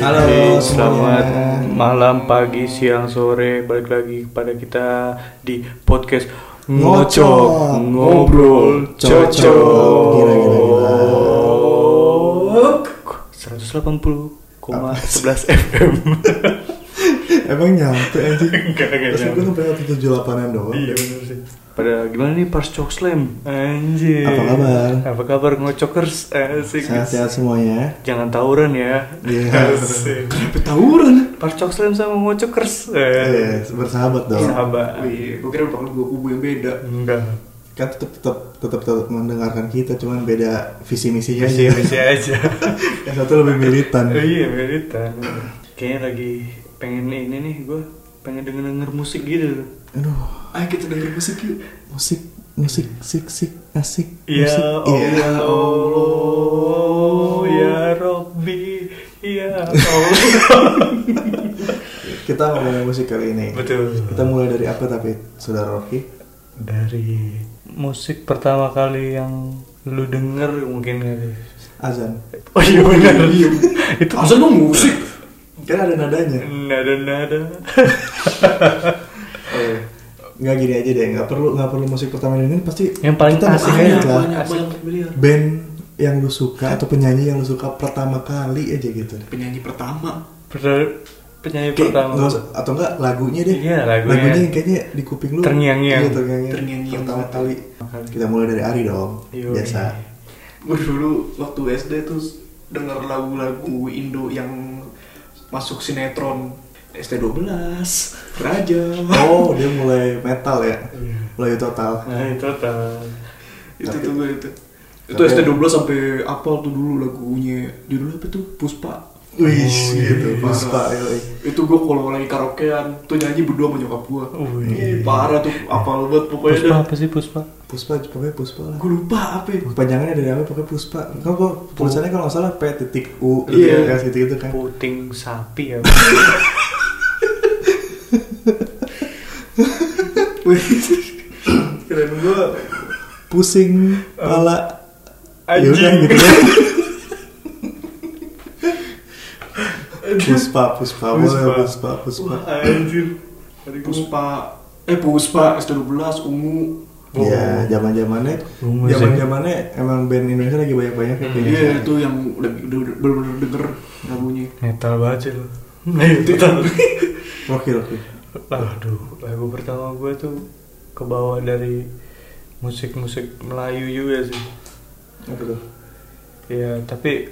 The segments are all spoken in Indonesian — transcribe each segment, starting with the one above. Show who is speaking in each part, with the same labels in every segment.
Speaker 1: Halo,
Speaker 2: Hey,
Speaker 1: semuanya.
Speaker 2: selamat malam, pagi, siang, sore. Balik lagi kepada kita di podcast
Speaker 1: Ngocok,
Speaker 2: Ngocok, Ngobrol,
Speaker 1: Cocok. Gila, gila, gila.
Speaker 2: Cocok. 180,11 FM.
Speaker 1: Emang nyampe anjing?
Speaker 2: Enggak, enggak
Speaker 1: Terus gue
Speaker 2: nyampe.
Speaker 1: sampai waktu 78-an doang
Speaker 2: Iya bener sih. Pada gimana nih Pars Cok Slam? Anjir.
Speaker 1: Apa kabar?
Speaker 2: Apa kabar ngocokers? Asik.
Speaker 1: Sehat-sehat semuanya
Speaker 2: Jangan tawuran ya.
Speaker 1: Iya.
Speaker 2: Asik.
Speaker 1: Kenapa tawuran?
Speaker 2: Pars Cok Slam sama ngocokers. Eh.
Speaker 1: Iya, bersahabat dong
Speaker 2: Sahabat.
Speaker 3: Wih, gue kira bakal dua kubu yang beda.
Speaker 2: Enggak.
Speaker 1: Kan tetap tetap tetap tetap mendengarkan kita Cuman beda visi misinya
Speaker 2: Visi visi aja.
Speaker 1: Yang satu lebih militan
Speaker 2: iya militan. Kayaknya lagi pengen ini nih gue pengen denger denger musik gitu.
Speaker 1: Aduh,
Speaker 3: Ayo kita dengerin musik yuk.
Speaker 1: musik musik sik sik asik
Speaker 2: Ya
Speaker 1: musik. Iya.
Speaker 2: Allah, ya Robbi, ya Allah.
Speaker 1: Kita ngomongin musik kali ini
Speaker 2: Betul.
Speaker 1: Kita mulai dari apa tapi Saudara Rocky?
Speaker 2: Dari musik pertama kali yang lu denger mungkin kali.
Speaker 1: Azan
Speaker 2: Oh iya benar. Itu
Speaker 3: Masa gue musik?
Speaker 1: Kan ada nadanya
Speaker 2: nada-nada. Iya.
Speaker 1: Eh, nggak gini aja deh nggak perlu nggak perlu musik pertama ini pasti
Speaker 2: Yang paling
Speaker 1: kita masih
Speaker 2: asik
Speaker 1: ingat
Speaker 2: aja,
Speaker 1: lah
Speaker 3: banyak, banyak miliar.
Speaker 1: band yang lu suka atau penyanyi yang lu suka pertama kali aja gitu
Speaker 3: Penyanyi pertama.
Speaker 2: Ber- penyanyi
Speaker 1: Kayak
Speaker 2: pertama.
Speaker 1: nggak usah- atau enggak lagunya deh
Speaker 2: Iya, lagunya.
Speaker 1: yang kayaknya di kuping lu
Speaker 2: Terngiang-ngiang.
Speaker 1: Iya, terngiang-ngiang.
Speaker 3: Terngiang-ngiang
Speaker 1: pertama
Speaker 3: banget.
Speaker 1: kali kita mulai dari Ari dong
Speaker 2: Yoi.
Speaker 1: biasa
Speaker 3: Gue dulu waktu SD tuh denger lagu-lagu Indo yang masuk sinetron. ST12, Raja.
Speaker 1: oh dia mulai metal ya
Speaker 2: Iya.
Speaker 1: mulai total
Speaker 2: Nah, itu tuh.
Speaker 3: itu
Speaker 1: Tapi-
Speaker 3: tuh gue itu. Itu
Speaker 1: Tapi-
Speaker 3: ST12 sampai apal tuh dulu lagunya. Judulnya apa tuh? Puspa.
Speaker 1: wih
Speaker 2: Oh,
Speaker 1: gitu
Speaker 2: iya.
Speaker 1: puspa yoi.
Speaker 3: Itu gue kalau lagi karaokean tuh nyanyi berdua sama nyokap gue.
Speaker 1: Oh, iya.
Speaker 2: Wih.
Speaker 3: Parah tuh apal banget pokoknya.
Speaker 2: Puspa
Speaker 3: dah.
Speaker 2: apa sih Puspa?
Speaker 1: puspa pokoknya puspa lah
Speaker 3: Gue lupa apa ya.
Speaker 1: panjangannya dari apa pokoknya puspa kan kok tulisannya kalau nggak salah p titik u
Speaker 3: Iya.
Speaker 1: gitu gitu kan
Speaker 2: Puting sapi ya.
Speaker 3: Keren gue.
Speaker 1: pusing pala
Speaker 2: Anjing.
Speaker 1: Yaudah, gitu ya puspa puspa boleh
Speaker 2: Puspa.
Speaker 1: puspa puspa
Speaker 3: Wah, anjir. Puspa eh Puspa S12 ungu.
Speaker 1: ya zaman zamannya
Speaker 2: Bunga sih.
Speaker 1: zaman zamannya emang band Indonesia lagi banyak banyak kayak
Speaker 3: Iya,
Speaker 1: gitu
Speaker 3: itu yang udah udah- udah- bener-bener denger lagunya.
Speaker 2: Metal banget sih lo.
Speaker 1: Nah,
Speaker 2: Metal.
Speaker 1: rocky rocky
Speaker 2: Aduh, lagu pertama gue tuh kebawa dari musik-musik Melayu juga sih.
Speaker 1: apa tuh
Speaker 2: Ya, tapi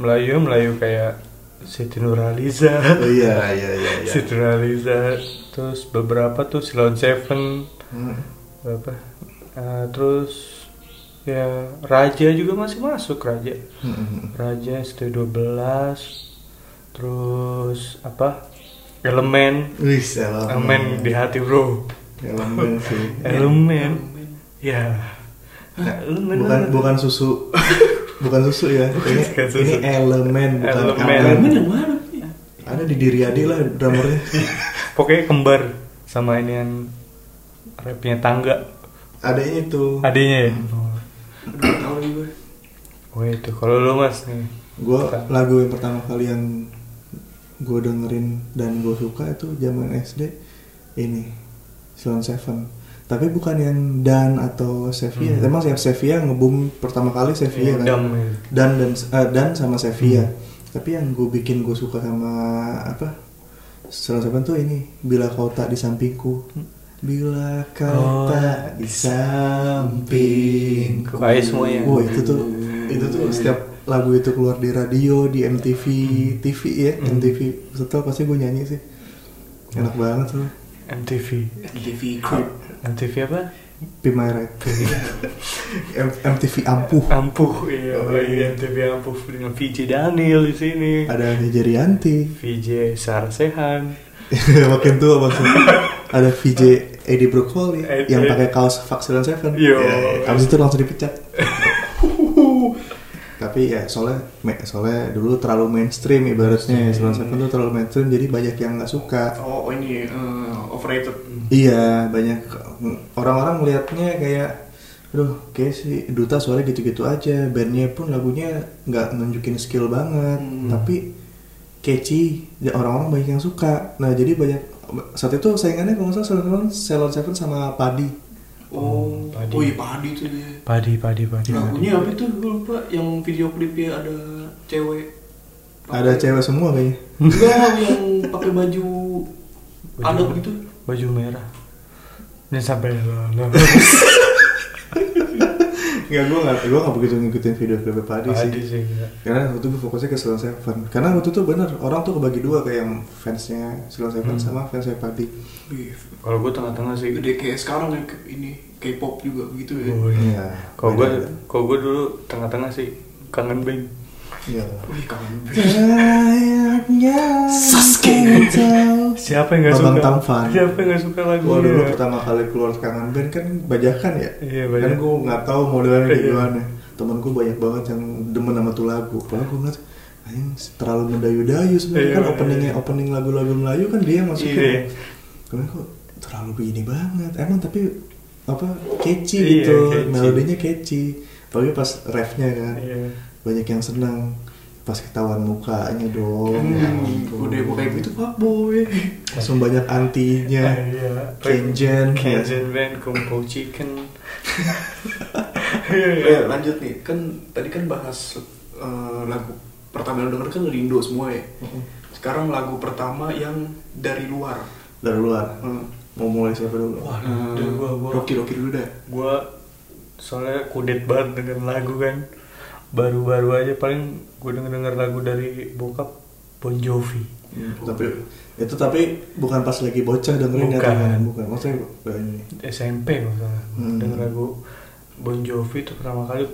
Speaker 2: Melayu Melayu kayak Siti Nurhaliza.
Speaker 1: oh, iya iya iya iya
Speaker 2: Siti Nurhaliza. Terus beberapa tuh Silon Seven
Speaker 1: Hmm.
Speaker 2: apa? eh, terus ya Raja juga masih masuk Raja.
Speaker 1: Hmm.
Speaker 2: Raja ST12 terus apa elemen
Speaker 1: Wih, elemen.
Speaker 2: elemen di hati bro
Speaker 1: Elemen sih.
Speaker 2: elemen ya
Speaker 1: Nah,
Speaker 2: elemen
Speaker 1: bukan
Speaker 2: apa?
Speaker 1: bukan susu bukan susu ya ini
Speaker 2: bukan susu.
Speaker 1: ini elemen bukan
Speaker 2: Elemen.
Speaker 1: elemen.
Speaker 3: Elemen yang mana? Pi?
Speaker 1: ada di diri Adi lah drummernya
Speaker 2: pokoknya kembar sama ini yang rapnya tangga
Speaker 1: adanya itu
Speaker 2: adanya ya
Speaker 1: Hmm.
Speaker 3: Aduh, nggak tahu lagi gue.
Speaker 2: oh itu kalau lu mas nih
Speaker 1: gue lagu yang pertama kali yang gue dengerin dan gue suka itu zaman SD ini Silon Seven tapi bukan yang Dan atau Sevia
Speaker 2: Hmm.
Speaker 1: emang siap Sevia ngeboom pertama kali Sevia kan
Speaker 2: Dam Hmm. ya.
Speaker 1: Dan dan eh, Dan sama Sevia tapi yang gue bikin gue suka sama apa Silon Seven tuh ini Bila kau tak di sampingku Bila kau
Speaker 2: Hmm. Oh.
Speaker 1: tak di sampingku
Speaker 2: Baik semuanya.
Speaker 1: Wah
Speaker 3: Oh,
Speaker 1: itu tuh itu tuh setiap lagu itu keluar di radio, di MTV, TV ya,
Speaker 2: Hmm.
Speaker 1: MTV. Setelah pasti gue nyanyi sih. Enak banget tuh.
Speaker 2: MTV
Speaker 3: MTV Crip.
Speaker 2: MTV apa
Speaker 1: Be my right. M- MTV ampuh.
Speaker 2: ampuh iya,
Speaker 1: Oh,
Speaker 2: iya.
Speaker 1: iya.
Speaker 2: MTV ampuh dengan VJ Daniel di sini
Speaker 1: Ada VJ Rianti.
Speaker 2: VJ Sarsehan
Speaker 1: Makin tua maksudnya. Ada VJ Eddie Brokoli
Speaker 2: Ed-
Speaker 1: yang
Speaker 2: Ed-
Speaker 1: pakai kaos Vaxilon Seven.
Speaker 2: Yo.
Speaker 1: Ya, Abis itu langsung dipecat. Tapi ya soalnya me- soalnya dulu terlalu mainstream ibaratnya Vaxilon Seven tuh terlalu mainstream jadi banyak yang nggak suka.
Speaker 3: Oh, oh ini eh, overrated.
Speaker 1: Iya banyak orang-orang melihatnya kayak Aduh kayak si Duta suaranya gitu-gitu aja Bandnya pun lagunya nggak nunjukin skill banget
Speaker 3: Hmm.
Speaker 1: Tapi catchy ya orang-orang banyak yang suka nah jadi banyak saat itu saingannya kalau nggak salah Ceylon Seven- Ceylon Seven sama Padi
Speaker 3: Oh,
Speaker 2: Padi.
Speaker 3: oh iya padi tuh dia. Iya.
Speaker 2: Padi, padi, padi. padi.
Speaker 3: Lagunya apa itu gue lupa yang video klipnya ada cewek.
Speaker 1: ada cewek semua kayaknya
Speaker 3: Enggak yang pakai baju
Speaker 2: Baju
Speaker 3: adat
Speaker 2: apa?
Speaker 3: gitu.
Speaker 2: Baju merah. Dan sampai lala.
Speaker 1: nggak gue nggak gue nggak begitu ngikutin video klip Padi, sih
Speaker 2: Padi sih. enggak.
Speaker 1: karena waktu itu gue fokusnya ke Ceylon Seven karena waktu itu bener orang tuh kebagi dua kayak yang fansnya Ceylon Seven
Speaker 2: Hmm.
Speaker 1: sama fansnya Padi
Speaker 3: Wih,
Speaker 2: Kalau gue tengah-tengah sih.
Speaker 3: Gede kayak sekarang ya ke- ini K-pop juga begitu ya.
Speaker 2: Oh, iya.
Speaker 1: Iya.
Speaker 2: Kalau gue,
Speaker 1: Beda.
Speaker 2: kalau gue dulu tengah-tengah sih kangen bang.
Speaker 1: Iya.
Speaker 3: Wih, kangen.
Speaker 1: Kayaknya
Speaker 3: Sasuke.
Speaker 1: kau
Speaker 2: Siapa yang nggak suka?
Speaker 1: Bambang Tampan.
Speaker 2: Siapa yang nggak suka lagu?
Speaker 1: Gua dulu pertama kali keluar kangen band kan bajakan ya.
Speaker 2: Iya,
Speaker 1: Kan
Speaker 2: bajakan.
Speaker 1: gue nggak tahu modelnya kayak
Speaker 2: Iya.
Speaker 1: gimana. Temen gue banyak banget yang demen sama tuh lagu. Padahal gue ngeliat anjing terlalu mendayu-dayu sebenarnya
Speaker 2: Iya,
Speaker 1: kan
Speaker 2: iya.
Speaker 1: openingnya opening lagu-lagu Melayu kan dia yang masukin.
Speaker 2: Iya.
Speaker 1: Karena kok terlalu begini banget. Emang tapi apa catchy
Speaker 2: Iya,
Speaker 1: gitu,
Speaker 2: catchy.
Speaker 1: melodinya catchy. Tapi pas refnya kan
Speaker 2: Iya.
Speaker 1: banyak yang senang pas ketahuan mukanya dong. ya
Speaker 3: Hmm,
Speaker 1: ampun.
Speaker 3: udah mau kayak gitu pak boy.
Speaker 1: langsung banyak antinya.
Speaker 2: Ah, Iya.
Speaker 1: Kenjen.
Speaker 2: Kenjen band, Kumpo Chicken. Iya,
Speaker 3: Eh, lanjut nih, kan tadi kan bahas eh, lagu pertama yang denger kan dari Indo semua ya. Sekarang lagu pertama yang dari luar.
Speaker 1: Dari luar.
Speaker 3: Hmm.
Speaker 1: Mau mulai siapa dulu?
Speaker 2: Wah,
Speaker 3: Eh,
Speaker 2: udah gua gua
Speaker 3: Rocky Rocky dulu dah.
Speaker 2: gua soalnya kudet banget dengan lagu kan. Baru-baru aja paling gue denger-denger lagu dari bokap Bon Jovi.
Speaker 1: Hmm, tapi itu tapi bukan pas lagi bocah dengerin ya
Speaker 2: Bukan.
Speaker 1: teman bukan maksudnya bukan ini
Speaker 2: SMP kalau nggak salah.
Speaker 1: Hmm.
Speaker 2: denger lagu Bon Jovi itu pertama kali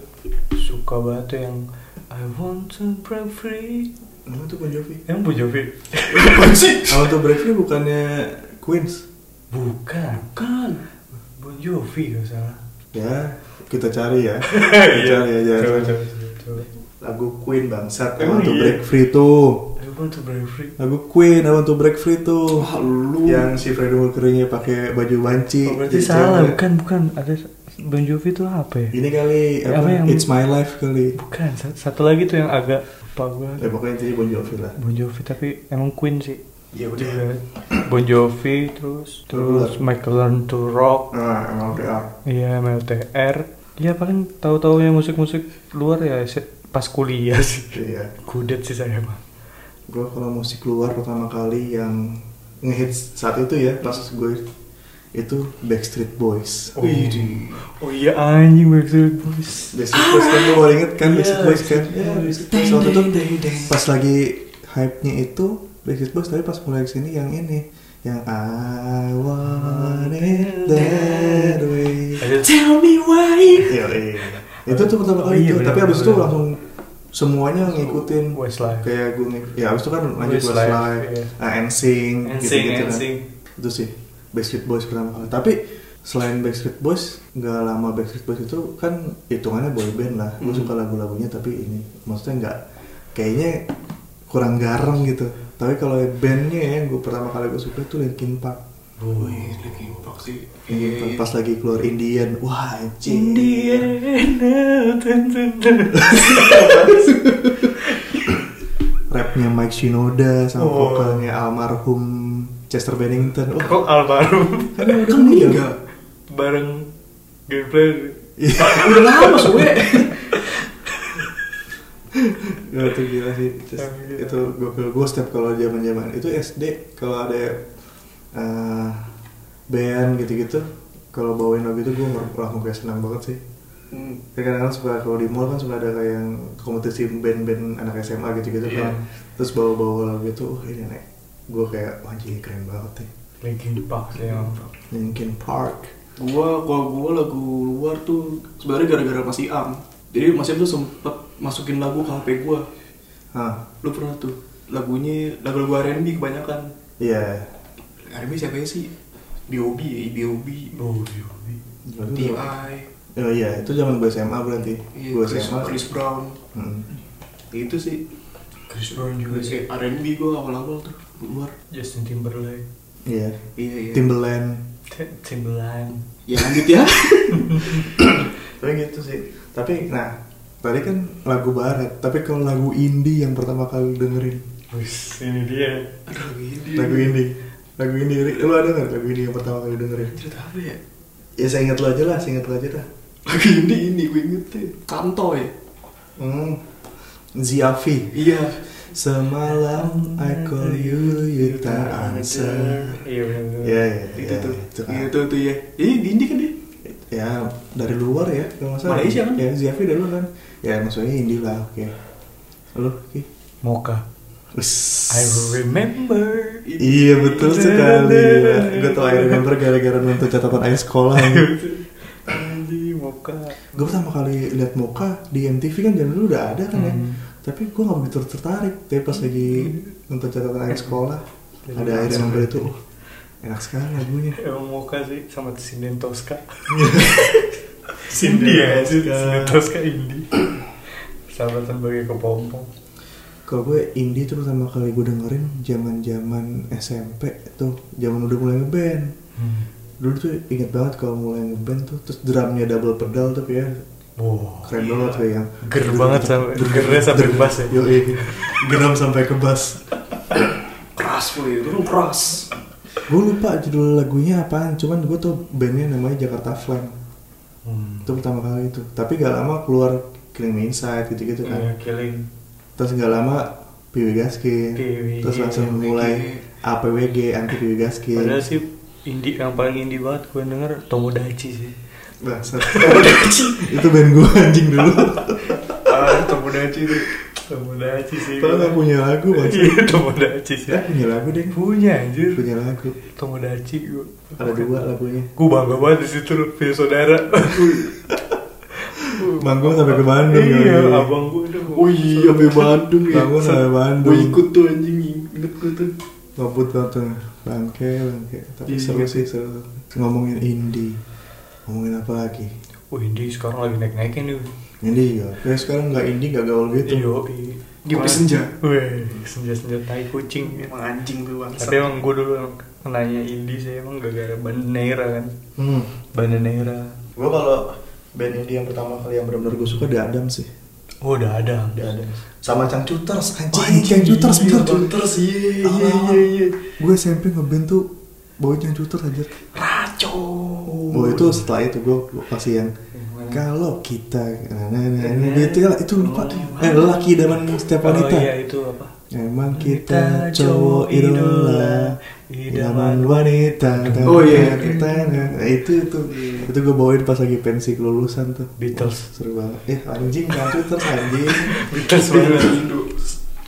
Speaker 2: suka banget tuh yang I want to break free
Speaker 1: apa tuh Bon Jovi
Speaker 2: yang Bon Jovi
Speaker 3: Apaan sih?
Speaker 1: apa tuh Break Free bukannya Queens
Speaker 2: bukan
Speaker 3: Kan.
Speaker 2: Bon Jovi kalau nggak salah
Speaker 1: ya kita cari ya
Speaker 3: Iya,
Speaker 1: kita cari aja
Speaker 2: coba, coba, coba, coba.
Speaker 1: lagu Queen bangsat I
Speaker 2: Emang
Speaker 1: want to
Speaker 2: iya?
Speaker 1: break free tuh
Speaker 2: I want to break free
Speaker 1: lagu Queen I want to break free tuh
Speaker 3: Wah, lu.
Speaker 1: yang si Freddie Mercury-nya pakai baju banci
Speaker 2: Ah, oh, berarti
Speaker 3: Iya,
Speaker 1: jadi
Speaker 2: salah
Speaker 1: cewek.
Speaker 2: bukan bukan ada Bon Jovi itu apa ya
Speaker 1: ini kali
Speaker 2: Apa
Speaker 1: apa,
Speaker 2: yang-
Speaker 1: It's My Life kali
Speaker 2: bukan sa- satu lagi tuh yang agak lupa gua
Speaker 1: ya pokoknya intinya Bon Jovi lah
Speaker 2: Bon Jovi tapi emang Queen sih
Speaker 1: ya
Speaker 2: Juga.
Speaker 3: Iya.
Speaker 2: Bon Jovi terus terus Michael Learn to Rock
Speaker 1: nah emang udah
Speaker 2: Iya MLTR Iya paling tahu-tahu yang musik-musik luar ya se- pas kuliah sih
Speaker 1: iya
Speaker 2: Kudet sih saya mah
Speaker 1: gue kalau musik luar pertama kali yang ngehits saat itu ya pas gue itu Backstreet Boys
Speaker 2: Oh.
Speaker 3: Wih, di-
Speaker 2: Oh iya anjing Backstreet Boys
Speaker 1: Backstreet Boys kan lo baru inget kan
Speaker 2: Iya,
Speaker 1: Backstreet Boys kan
Speaker 2: Backstreet
Speaker 1: Iya,
Speaker 2: Boys.
Speaker 1: Backstreet Boys waktu itu pas lagi hype-nya itu Backstreet Boys tapi pas mulai kesini yang ini yang I want it that way
Speaker 2: Ada
Speaker 1: Iya, iya. itu tuh pertama
Speaker 2: Oh,
Speaker 1: kali
Speaker 2: iya,
Speaker 1: itu tapi
Speaker 2: benar,
Speaker 1: abis itu
Speaker 2: benar.
Speaker 1: langsung semuanya ngikutin
Speaker 2: Westlife
Speaker 1: kayak gue ngik- ya abis itu kan lanjut
Speaker 2: Westlife,
Speaker 1: Westlife,
Speaker 2: iya.
Speaker 1: ah, NSYNC,
Speaker 2: NSYNC,
Speaker 1: gitu-gitu kan.
Speaker 2: NSYNC.
Speaker 1: itu sih Backstreet Boys pertama kali tapi selain Backstreet Boys nggak lama Backstreet Boys itu kan hitungannya boy band lah gue
Speaker 3: Hmm.
Speaker 1: suka lagu-lagunya tapi ini maksudnya nggak kayaknya kurang garam gitu tapi kalau bandnya ya yang gue pertama kali gue suka tuh Linkin Park
Speaker 3: Wih, lagi impak sih.
Speaker 1: Linkin Park. pas lagi keluar Indian wah anjing
Speaker 2: Indiana dun, dun, dun.
Speaker 1: rapnya Mike Shinoda sama
Speaker 2: Oh.
Speaker 1: vokalnya almarhum Chester Bennington oh
Speaker 2: Kok almarhum
Speaker 1: kan udah
Speaker 3: Kan
Speaker 1: meninggal
Speaker 3: enggak.
Speaker 2: Bareng gameplay
Speaker 1: Iya.
Speaker 3: Udah lama soalnya.
Speaker 1: Ya, itu gila sih Terus
Speaker 2: Gila.
Speaker 1: itu gokil gue setiap kalau zaman zaman itu SD kalau ada eh, band gitu-gitu kalau bawain lagu itu gue langsung kayak senang banget sih
Speaker 3: Hmm.
Speaker 1: Ya, kadang-kadang suka kalau di mall kan suka ada kayak yang kompetisi band-band anak SMA gitu-gitu
Speaker 2: Iya.
Speaker 1: kan terus bawa-bawa lagu itu oh ini nek gue kayak wah anjing keren banget nih
Speaker 2: Linkin Park sih emang
Speaker 1: Linkin Park
Speaker 3: gua kalau gua lagu luar tuh sebenarnya gara-gara Mas Iam jadi Mas Iam tuh sempet masukin lagu ke HP gua
Speaker 1: Hah,
Speaker 3: lu pernah tuh lagunya lagu-lagu R&B kebanyakan
Speaker 1: iya
Speaker 3: R&B siapa ya sih B.O.B ya B.O.B
Speaker 2: Oh Jovi
Speaker 1: Berarti
Speaker 3: T.I
Speaker 1: lu- Oh iya, itu zaman gue SMA berarti.
Speaker 3: iya,
Speaker 1: gue
Speaker 3: Chris,
Speaker 1: SMA.
Speaker 3: Chris Brown
Speaker 1: Hmm.
Speaker 3: itu sih
Speaker 2: Chris Brown
Speaker 1: Iya,
Speaker 2: juga sih
Speaker 3: Eh, R&B gua awal-awal tuh luar
Speaker 2: Justin Timberlake
Speaker 1: Iya.
Speaker 3: iya iya
Speaker 1: Timbaland.
Speaker 2: Tim- Timberland
Speaker 3: ya lanjut ya
Speaker 1: Tapi gitu sih. Tapi nah, tadi kan lagu barat, tapi kalau lagu indie yang pertama kali dengerin
Speaker 2: Wis, ini dia.
Speaker 3: Aduh lagu indie.
Speaker 1: lagu indie lagu indie Ri. lu ada nggak lagu indie yang pertama kali dengerin
Speaker 3: Cerita apa ya?
Speaker 1: ya saya ingat lu aja lah saya ingat lu aja dah
Speaker 3: Lagu indie ini gue ingetin. Kantoy.
Speaker 1: hmm. Ziafi
Speaker 3: Iya.
Speaker 1: semalam I call you you tak answer
Speaker 2: Iya benar.
Speaker 1: ya ya
Speaker 3: Itu
Speaker 1: ya,
Speaker 3: tuh.
Speaker 1: itu kan.
Speaker 3: Iya tuh tuh ya. Ini di indie kan dia?
Speaker 1: ya dari luar ya kalau nggak salah
Speaker 3: Malaysia kan?
Speaker 1: ya Ziafi dari luar kan ya maksudnya indie lah oke lu oke
Speaker 2: Moka.
Speaker 1: Uss.
Speaker 2: I remember.
Speaker 1: Iya betul sekali. Gue tau I remember gara-gara nonton catatan ayah sekolah.
Speaker 2: Andy Moka.
Speaker 1: gue pertama kali lihat Moka di MTV kan zaman dulu udah ada kan ya.
Speaker 2: Hmm.
Speaker 1: Tapi gue gak begitu tertarik. Tapi pas lagi nonton catatan ayah sekolah
Speaker 2: Jadi
Speaker 1: ada I
Speaker 2: langsung
Speaker 1: remember
Speaker 2: ya.
Speaker 1: itu. oh, enak sekali lagunya.
Speaker 2: Emang Moka Eh, sih sama Sinden Tosca.
Speaker 1: Sinden
Speaker 2: Indie ya,
Speaker 1: Tosca.
Speaker 2: Sinden Tosca Indie. Sahabatan bagi kepompong.
Speaker 1: Kalau gue indie tuh pertama kali gue dengerin zaman-zaman SMP tuh, zaman udah mulai ngeband. Dulu tuh inget banget kalau mulai ngeband tuh, terus drumnya double pedal tuh ya
Speaker 2: Wow.
Speaker 1: keren banget kayak yang
Speaker 2: Iya. Ger banget sampai- gernya sampai ke bass ya?
Speaker 1: yo geram sampai ke bass
Speaker 3: Keras gue itu kan keras.
Speaker 1: gue lupa judul lagunya apaan cuman gue tuh bandnya namanya Jakarta Flame
Speaker 2: Hmm.
Speaker 1: itu pertama kali itu tapi gak lama keluar Killing Me Inside gitu-gitu
Speaker 2: Iya,
Speaker 1: kan
Speaker 2: killing.
Speaker 1: terus gak lama PW Gaskin
Speaker 2: PW,
Speaker 1: terus langsung
Speaker 3: PWG.
Speaker 1: mulai APWG anti PW Gaskin
Speaker 2: Padahal sih indie yang paling indie banget gue denger Tomodachi sih.
Speaker 1: Bangsat. itu band gue anjing dulu
Speaker 2: Iya.
Speaker 3: Ah, Tomodachi itu.
Speaker 2: Tomodachi sih.
Speaker 1: Padahal gak punya lagu bangsat
Speaker 2: Iya, Tomodachi sih.
Speaker 1: eh punya lagu deh
Speaker 2: Punya anjir.
Speaker 1: punya lagu
Speaker 2: Tomodachi gue.
Speaker 1: ada dua lagunya
Speaker 2: Gue bangga banget di situ lu punya saudara.
Speaker 1: Manggung sampai ke Bandung
Speaker 2: iya,
Speaker 1: ya.
Speaker 2: abang gue udah.
Speaker 3: Oh iya, sampai Bandung ya.
Speaker 1: Bangun sampai Bandung.
Speaker 3: Gue ikut tuh anjing, inget gue tuh.
Speaker 1: ngebut banget tuh bangke bangke tapi
Speaker 3: Iya.
Speaker 1: seru sih seru ngomongin indie ngomongin apa lagi
Speaker 2: Wah, indie sekarang lagi naik-naiknya nih.
Speaker 1: indie ya kayak sekarang nggak indie nggak gaul gitu
Speaker 2: Iya.
Speaker 3: Kopi senja.
Speaker 2: Weh, senja-senja tai kucing.
Speaker 3: Emang anjing tuh bangsa.
Speaker 2: Tapi emang gue dulu emang nanya indie sih emang gara-gara Bandanera kan.
Speaker 1: hmm.
Speaker 2: Bandanera.
Speaker 1: gue kalau band indie yang pertama kali yang benar-benar gue suka The Adam sih
Speaker 2: Oh, udah ada.
Speaker 1: The Adam sama Cang Cuters
Speaker 3: Anjing,
Speaker 1: anjing Cang Cuters
Speaker 3: iya,
Speaker 1: bener
Speaker 3: Cang
Speaker 1: tuh
Speaker 3: Cuters, iya, iya,
Speaker 1: Ah.
Speaker 3: iya, iya.
Speaker 1: gue SMP ngeband tuh bawa Cang Cuters aja
Speaker 2: Ah.
Speaker 3: Raco.
Speaker 1: Oh, itu setelah itu gue kasih yang
Speaker 2: Gimana?
Speaker 1: kalau kita nah, nah, nah, nah, gitu ya itu lupa
Speaker 3: Oh,
Speaker 1: eh lelaki idaman setiap
Speaker 2: Oh
Speaker 1: wanita
Speaker 2: iya itu apa?
Speaker 1: Emang kita cowok idola Idaman wanita
Speaker 3: Oh, iya.
Speaker 1: Nah, Itu itu Itu gue bawain pas lagi pensi kelulusan tuh
Speaker 2: Iya. Beatles.
Speaker 1: Seru banget Eh anjing kacu terus anjing
Speaker 2: Beatles
Speaker 3: Bener,
Speaker 2: banget.
Speaker 3: Indo.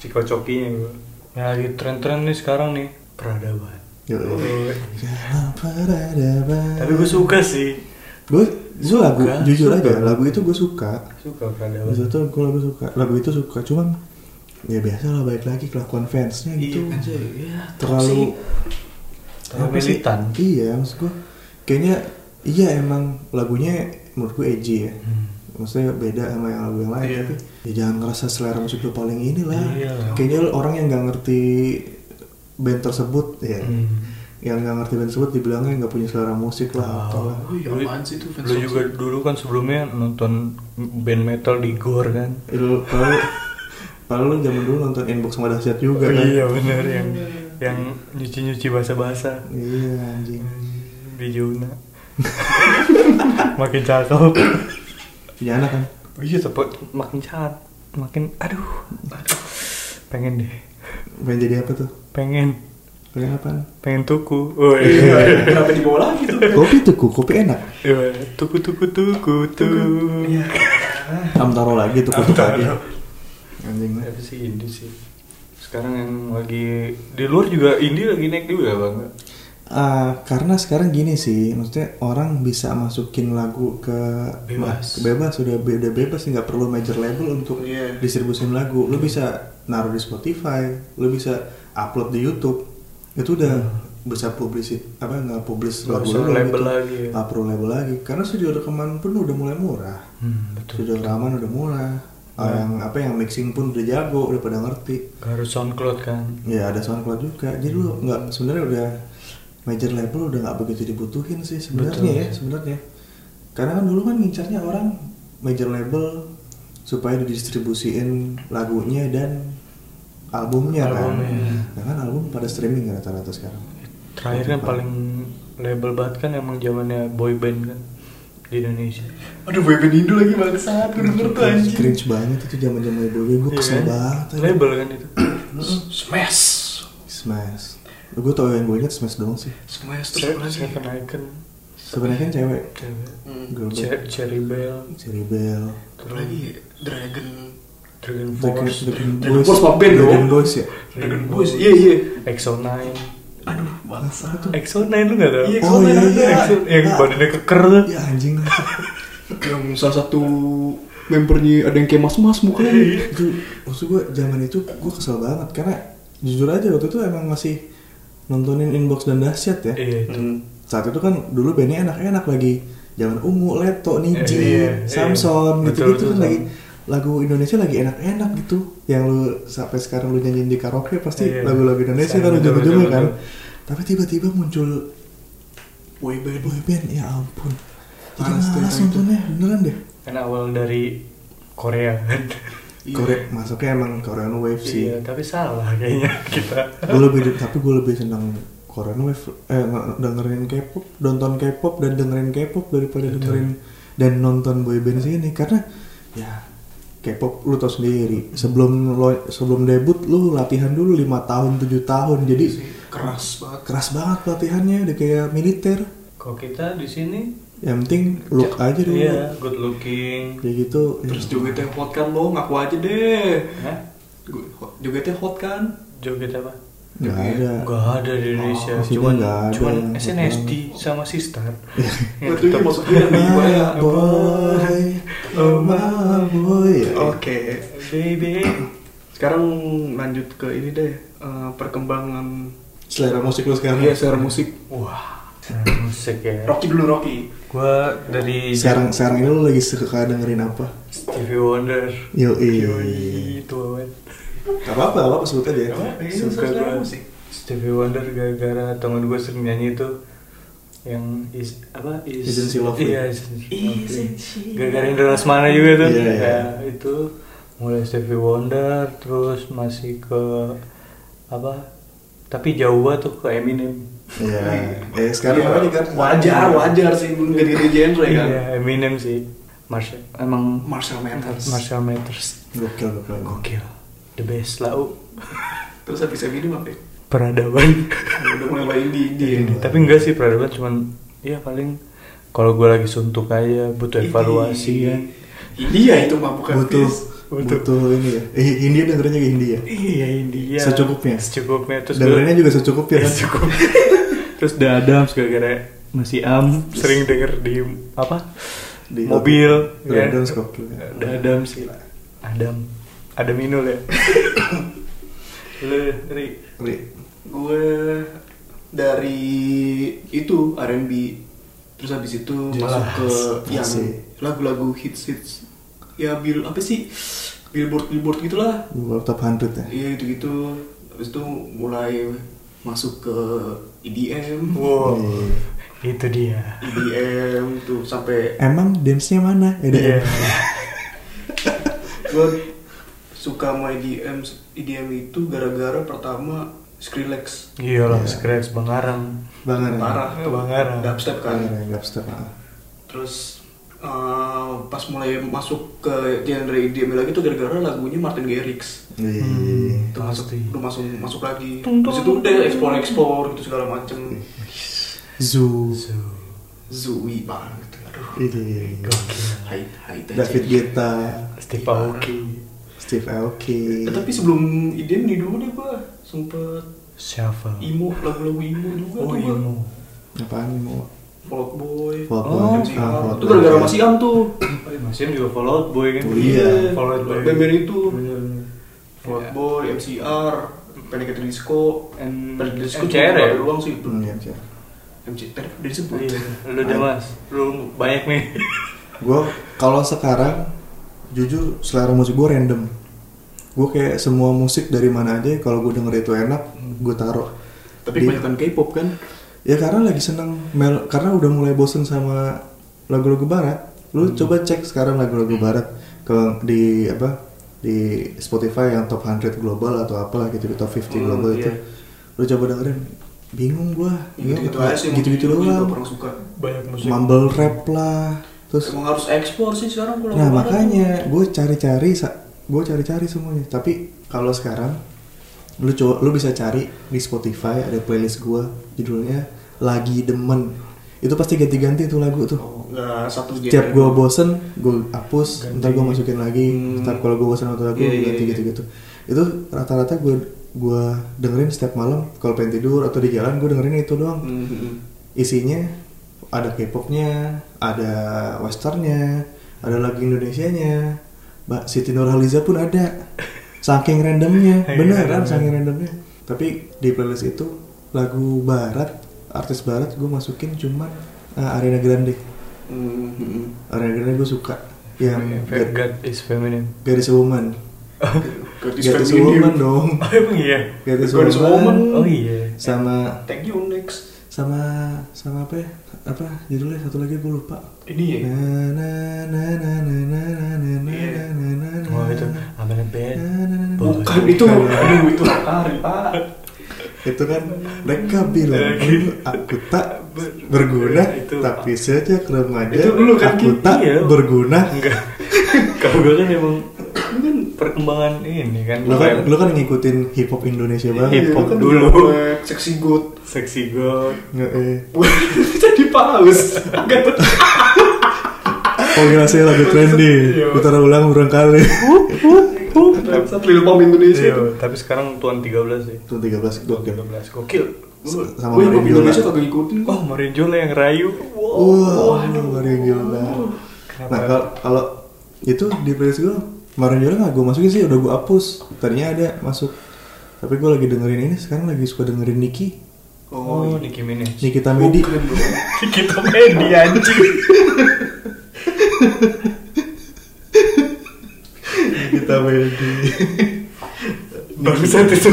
Speaker 2: Ciko cokinya gue. Yang Ya, lagi tren-tren nih sekarang nih peradaban.
Speaker 1: Yo,
Speaker 2: Eh,
Speaker 1: Dalam peradaban
Speaker 2: Tapi gue suka sih.
Speaker 1: Gue gue lagu
Speaker 2: Suka,
Speaker 1: Jujur
Speaker 2: suka.
Speaker 1: aja lagu itu gue suka
Speaker 2: Suka peradaban.
Speaker 1: Maksudnya tuh gue lagu suka Lagu itu suka Cuman Ya biasa lah balik lagi kelakuan fansnya
Speaker 2: Iya,
Speaker 1: gitu
Speaker 2: fansnya,
Speaker 1: Terlalu
Speaker 2: Terlalu
Speaker 1: Apa sih?
Speaker 2: militan.
Speaker 1: Iya, maksud gue kayaknya iya emang lagunya menurut gue edgy ya. Maksudnya beda sama yang lagu yang lain
Speaker 3: Iya.
Speaker 1: tapi ya jangan ngerasa selera musik lu paling inilah.
Speaker 2: Iya.
Speaker 1: Kayaknya lu orang yang nggak ngerti band tersebut ya.
Speaker 2: Hmm.
Speaker 1: Yang nggak ngerti band tersebut dibilangnya nggak punya selera musik lah atau lah.
Speaker 3: Oh iya,
Speaker 2: Lu-
Speaker 3: apaan sih itu fans
Speaker 2: Lu juga dulu kan sebelumnya nonton band metal di Gor kan?
Speaker 1: Lu kalau kalau lu zaman dulu nonton inbox sama dahsyat juga kan.
Speaker 2: iya bener yang yang nyuci-nyuci basa-basa
Speaker 1: Iya, anjing.
Speaker 2: di Juna. Makin cakep.
Speaker 1: Punya anak kan.
Speaker 2: Iya tapi makin cakep, makin aduh, aduh. Pengen deh.
Speaker 1: Pengen jadi apa tuh?
Speaker 2: Pengen
Speaker 1: Pengen apaan?
Speaker 2: pengen tuku. Oh iya.
Speaker 3: Iya, Kenapa dibawa lagi tuh?
Speaker 1: Kopi tuh, Ku. kopi enak.
Speaker 2: Iya, Tuku tuku tuku tuku.
Speaker 1: Am taro lagi tuh
Speaker 2: Am
Speaker 1: kutu lagi.
Speaker 2: taro.
Speaker 1: Anjing lah.
Speaker 2: Tapi sih indie sih. Sekarang yang lagi di luar juga indie lagi naik juga bang.
Speaker 1: Ah, karena sekarang gini sih, maksudnya orang bisa masukin lagu ke
Speaker 2: Bebas.
Speaker 1: ke bebas sudah be- udah bebas sih, nggak perlu major label untuk
Speaker 3: Iya.
Speaker 1: distribusin lagu. Lu bisa naruh di Spotify, lu bisa upload di YouTube. Itu udah bisa publisit apa nggak publish
Speaker 2: Hmm. Nggak
Speaker 1: lagu
Speaker 2: usah
Speaker 1: lu gitu.
Speaker 2: label lagi ya.
Speaker 1: Nggak perlu label lagi. Karena studio rekaman pun udah mulai murah.
Speaker 2: Hmm, betul. Hmm.
Speaker 1: Studio rekaman udah murah. Yang apa yang mixing pun udah jago, udah pada ngerti.
Speaker 2: Nggak harus SoundCloud kan?
Speaker 1: Ya ada SoundCloud juga. Jadi lu nggak sebenarnya udah major label udah nggak begitu dibutuhin sih sebenarnya
Speaker 2: Betul.
Speaker 1: ya sebenarnya. Karena kan dulu kan ngincarnya orang major label supaya didistribusiin lagunya dan albumnya, kan
Speaker 2: Albumnya.
Speaker 1: nah kan album pada streaming kan rata-rata sekarang
Speaker 2: Terakhir kan paling label banget kan emang zamannya boyband kan di Indonesia.
Speaker 3: Aduh, boyband Indo lagi bangsat, gue denger tuh
Speaker 1: cringe,
Speaker 3: anjing.
Speaker 1: cringe banget itu zaman zaman gue gue
Speaker 2: Iya
Speaker 1: kesel
Speaker 2: kan?
Speaker 1: banget aja.
Speaker 2: Label kan itu.
Speaker 3: Smash.
Speaker 1: smash gue tau yang gue inget smash doang sih
Speaker 3: Smash terus
Speaker 2: Saya
Speaker 3: apa lagi?
Speaker 2: Seven Icon,
Speaker 1: sebenarnya kan cewek
Speaker 3: Hmm.
Speaker 1: girl band
Speaker 2: Ce- Cherry Bell,
Speaker 1: Cherry Bell
Speaker 3: Apa lagi? Dragon
Speaker 2: Dragon
Speaker 1: Dragon
Speaker 2: Force,
Speaker 1: Dragon
Speaker 3: Dragon
Speaker 1: Boys
Speaker 3: Force mah band
Speaker 1: Dragon
Speaker 3: dong.
Speaker 1: Boys ya
Speaker 3: Dragon Boys. Iya, iya.
Speaker 2: EXO 9.
Speaker 3: Aduh, bangsat.
Speaker 2: EXO 9 lu nggak tahu?
Speaker 3: Iya,
Speaker 1: Oh,
Speaker 3: kalau
Speaker 1: iya,
Speaker 3: ada
Speaker 1: iya.
Speaker 2: EXO yang
Speaker 1: Ah.
Speaker 2: badannya keker tuh.
Speaker 1: ya anjing
Speaker 3: yang salah satu membernya ada yang kayak mas-mas mukanya.
Speaker 1: itu maksud gue zaman itu gue kesel banget karena jujur aja waktu itu emang masih nontonin inbox dan dahsyat ya
Speaker 2: Iya. itu.
Speaker 3: Hmm.
Speaker 1: saat itu kan dulu bandnya enak-enak lagi zaman ungu leto niji
Speaker 2: Iya, iya. Betul,
Speaker 1: samson gitu gitu
Speaker 2: betul,
Speaker 1: kan
Speaker 2: betul.
Speaker 1: lagi lagu Indonesia lagi enak-enak gitu yang lu sampai sekarang lu nyanyiin di karaoke pasti
Speaker 2: Iya.
Speaker 1: lagu-lagu Indonesia kan
Speaker 2: Betul,
Speaker 1: ujung-ujungnya
Speaker 2: betul,
Speaker 1: kan
Speaker 2: betul.
Speaker 1: tapi tiba-tiba muncul
Speaker 3: Boyband.
Speaker 1: boyband ya ampun jadi
Speaker 3: Panas tuh
Speaker 1: malas
Speaker 3: yang itu.
Speaker 1: nontonnya beneran deh
Speaker 2: Kan awal dari Korea kan.
Speaker 3: Iya.
Speaker 1: Korea masuknya emang Korean wave sih
Speaker 2: Iya, tapi salah kayaknya kita.
Speaker 1: gue lebih tapi gue lebih senang Korean wave eh nge- dengerin K-pop nonton K-pop dan dengerin K-pop daripada dengerin dan nonton boyband sini karena ya K-pop lu tau sendiri sebelum lo, sebelum debut lu latihan dulu lima tahun tujuh tahun jadi
Speaker 3: Keras banget.
Speaker 1: keras banget latihannya udah kayak militer
Speaker 2: Kok kita di sini?
Speaker 1: yang penting look aja dulu
Speaker 2: Iya, good looking.
Speaker 1: kayak gitu ya.
Speaker 3: Terus jogetnya hot kan lo, ngaku aja deh.
Speaker 2: Hah?
Speaker 3: Gue- hot- Jogetnya hot kan?
Speaker 2: Joget apa?
Speaker 1: nggak ada
Speaker 2: Enggak ada di Indonesia,
Speaker 1: Nah. Oh, di sini
Speaker 2: cuman
Speaker 1: nggak Iya. ada.
Speaker 2: cuman SNSD sama Sistar. Yang
Speaker 3: Batunya
Speaker 2: tetap-
Speaker 3: maksudnya ya. lebih banyak.
Speaker 1: My boy, oh my boy. Ya,
Speaker 3: Oke.
Speaker 2: Baby.
Speaker 3: Sekarang lanjut ke ini deh eh, perkembangan
Speaker 1: Selera musik lu sekarang?
Speaker 3: Iya, selera musik.
Speaker 2: Wah, musik ya.
Speaker 3: Rocky dulu Rocky.
Speaker 2: Gua dari
Speaker 1: Sekarang sekarang ini lu lagi suka dengerin apa?
Speaker 2: Stevie Wonder.
Speaker 1: Yoi.
Speaker 2: Yoi, tua banget.
Speaker 1: Gak apa-apa, gak apa-apa sebut
Speaker 2: Iya,
Speaker 1: aja. ya.
Speaker 3: Suka
Speaker 2: selera
Speaker 3: banget.
Speaker 2: musik. Stevie Wonder gara-gara teman gue sering nyanyi itu yang is apa is
Speaker 1: Isn't she lovely?
Speaker 2: iya isn't she lovely. gara-gara Indra Lesmana juga tuh
Speaker 1: Iya, iya.
Speaker 2: Ya, itu mulai Stevie Wonder terus masih ke apa tapi jauh banget tuh ke Eminem
Speaker 1: Iya. Eh sekarang apa nih kan?
Speaker 3: Nah, Iya, Wajar, wajar sih belum gede gede genre kan.
Speaker 2: iya Eminem sih Marshall emang
Speaker 3: Marshall Mathers.
Speaker 2: Marshall Mathers
Speaker 1: Gokil, gokil. gokil.
Speaker 2: gokil the best lah U.
Speaker 3: Terus habis Eminem apa? ya?
Speaker 2: peradaban
Speaker 3: Udah mulai main di India.
Speaker 2: Ini, Ya, tapi enggak sih peradaban cuman ya paling kalau gue lagi suntuk aja butuh evaluasi kan
Speaker 3: India itu mah bukan
Speaker 1: Butuh,
Speaker 3: Fis.
Speaker 1: butuh, ini ya. Eh, India dengerinnya ke India.
Speaker 2: iya India
Speaker 1: Secukupnya?
Speaker 2: secukupnya terus
Speaker 1: Dengerinnya
Speaker 2: gua-
Speaker 1: juga secukupnya
Speaker 2: Iya,
Speaker 1: kan?
Speaker 2: cukup. terus The Adams gara-gara masih am sering denger di apa
Speaker 1: Di-
Speaker 2: mobil
Speaker 1: The
Speaker 2: ya.
Speaker 1: Adams gokil.
Speaker 2: The Adams sih Adam Adam Inul ya lu Ri
Speaker 1: Ri,
Speaker 3: Gue dari itu R&B terus habis itu masuk ke
Speaker 1: asik.
Speaker 3: yang lagu-lagu hits hits ya bil apa sih billboard billboard gitulah
Speaker 1: World Top 100 ya?
Speaker 3: iya gitu gitu habis itu mulai masuk ke E EDM
Speaker 2: wow
Speaker 1: Iya.
Speaker 2: itu dia
Speaker 3: EDM E tuh sampai
Speaker 1: Emang dance-nya mana? Eh,
Speaker 2: Iya.
Speaker 1: dance.
Speaker 3: gue suka sama E EDM EDM itu gara-gara pertama Skrillex
Speaker 2: iyalah
Speaker 1: Iya.
Speaker 2: Scratch Bangarang
Speaker 1: Bangan.
Speaker 3: parah tuh
Speaker 2: Bangarang.
Speaker 3: dubstep kan
Speaker 1: Bangan, dubstep. ah.
Speaker 3: terus eh, pas mulai masuk ke genre EDM lagi tuh gara-gara lagunya Martin Garrix
Speaker 1: Iya.
Speaker 2: Hmm.
Speaker 3: Itu masuk
Speaker 2: Pasti.
Speaker 3: lu masuk masuk lagi terus itu udah explore explore gitu segala macem
Speaker 1: Zoo.
Speaker 2: So,
Speaker 3: Zui banget aduh
Speaker 1: Ini.
Speaker 3: high high tech
Speaker 1: David Guetta,
Speaker 2: Steve Aoki,
Speaker 1: Steve
Speaker 3: Eh,
Speaker 1: Aoki.
Speaker 3: tapi sebelum EDM nih dulu deh gua sempet
Speaker 2: siapa?
Speaker 3: emo lagu-lagu emo juga
Speaker 2: Oh,
Speaker 3: tuh gua.
Speaker 2: Imo.
Speaker 1: Apaan nih mau?
Speaker 3: Folk Boy
Speaker 1: Folk
Speaker 2: Boy.
Speaker 3: MC
Speaker 1: Ah,
Speaker 3: Am.
Speaker 1: Folk
Speaker 3: Oh, iya. itu
Speaker 1: Boy.
Speaker 3: gara-gara Mas Iam tuh
Speaker 2: Mas Im juga Fall Out Boy kan?
Speaker 1: Oh, iya.
Speaker 2: Fall Out Boy.
Speaker 3: Band-band itu.
Speaker 2: Bener, bener.
Speaker 3: Folk
Speaker 2: Iya.
Speaker 3: Boy, MCR, Panic at the Disco
Speaker 2: And
Speaker 3: Panic at the Disco
Speaker 2: MCR ya?
Speaker 3: cuma doang sih
Speaker 1: Hmm, ya, ya.
Speaker 3: MC Panic at the Disco
Speaker 2: Iya. Lu deh mas, lu banyak nih.
Speaker 1: Gue kalau sekarang jujur selera musik gue random. Gue kayak semua musik dari mana aja kalau gue denger itu enak, gue taruh.
Speaker 3: tapi
Speaker 1: Di-
Speaker 3: kebanyakan K-pop kan
Speaker 1: Ya karena lagi seneng, mel- karena udah mulai bosen sama
Speaker 3: Hmm.
Speaker 1: lagu-lagu barat. Lu coba cek sekarang lagu-lagu barat ke di apa di Spotify yang top 100 global atau apalah gitu top 50
Speaker 3: Hmm,
Speaker 1: global itu
Speaker 3: iya.
Speaker 1: lu coba dengerin bingung gua
Speaker 3: gitu-gitu aja sih
Speaker 1: Iya, gitu-gitu
Speaker 3: mungkin
Speaker 1: doang.
Speaker 3: gak pernah suka
Speaker 2: banyak musik
Speaker 1: mumble rap lah terus
Speaker 3: emang harus ekspor sih sekarang pulang
Speaker 1: nah makanya gue cari-cari gue cari-cari semuanya tapi kalau sekarang lu coba lu bisa cari di Spotify ada playlist gue judulnya lagi demen itu pasti ganti-ganti tuh lagu tuh
Speaker 3: oh, nggak satu
Speaker 1: setiap
Speaker 3: genre
Speaker 1: gue bosen gue hapus ntar gue masukin lagi
Speaker 3: Hmm.
Speaker 1: ntar kalau gue bosen atau lagu
Speaker 3: Iya,
Speaker 1: gue
Speaker 3: iya,
Speaker 1: ganti
Speaker 3: iya.
Speaker 1: gitu gitu itu rata-rata gue gue dengerin setiap malam kalau pengen tidur atau di jalan gue dengerin itu doang
Speaker 3: Hmm, hmm, hmm.
Speaker 1: isinya ada K-popnya, ada westernnya, ada lagu Indonesianya. Mbak Siti Nurhaliza pun ada. Saking randomnya,
Speaker 2: Iya,
Speaker 1: beneran
Speaker 2: bener.
Speaker 1: saking randomnya. Tapi di playlist itu lagu barat, artis barat gue masukin cuman eh, Ariana Grande.
Speaker 3: Hmm, hmm, hmm.
Speaker 1: Ariana Grande gue suka yang
Speaker 2: Fe-
Speaker 1: Gar-
Speaker 2: Iya, God is feminine
Speaker 1: Garis Woman.
Speaker 3: Gadis
Speaker 1: Garis
Speaker 3: feminim.
Speaker 1: Woman dong.
Speaker 2: oh emang iya
Speaker 1: Garis
Speaker 3: Garis Woman.
Speaker 1: Woman
Speaker 2: oh iya
Speaker 1: sama
Speaker 3: Thank you next.
Speaker 1: sama sama apa ya? Apa judulnya satu lagi gue lupa.
Speaker 3: Ini ya.
Speaker 1: Nah,
Speaker 2: oh itu I'm in a bed
Speaker 3: Bukan itu. Aduh itu Ari Pak.
Speaker 1: itu kan mereka bilang aku tak berguna tapi saja remaja
Speaker 3: Itu dulu kan,
Speaker 2: Ki?
Speaker 1: aku tak
Speaker 2: Iya.
Speaker 1: berguna
Speaker 2: enggak kalau gue kan emang ini kan perkembangan ini kan
Speaker 1: lu kan lu kan ngikutin hip hop Indonesia
Speaker 2: Hip
Speaker 1: banget Iya,
Speaker 2: hop
Speaker 3: Kan
Speaker 2: dulu.
Speaker 3: black, Sexy good.
Speaker 2: seksi god
Speaker 1: nggak eh
Speaker 3: Jadi paus. Agak betul.
Speaker 1: oh gila sih lagu trendy putar ulang berulang kali
Speaker 3: Bangsat Lil Pump Indonesia.
Speaker 2: Iya, tapi sekarang tuan 13 sih
Speaker 1: itu 13 gokil
Speaker 2: 13 gokil
Speaker 3: Dulu,
Speaker 1: Sama
Speaker 3: gue
Speaker 1: Mario
Speaker 3: Pop Indonesia
Speaker 1: Yola.
Speaker 3: kagak ngikutin kok.
Speaker 2: oh Marinjola yang rayu
Speaker 1: Wah, baru yang gila. Nah,
Speaker 2: Kenapa?
Speaker 1: kalau kalau itu di playlist gue kemarin juga nggak gue masukin sih, udah gue hapus. Tadinya ada masuk, tapi gue lagi dengerin ini sekarang lagi suka dengerin Niki, iya.
Speaker 2: oh Nicki Minaj
Speaker 1: Nikita Medi.
Speaker 3: Bukan, bro.
Speaker 2: kita medi anjing
Speaker 1: Nikita Medi.
Speaker 2: bangsat itu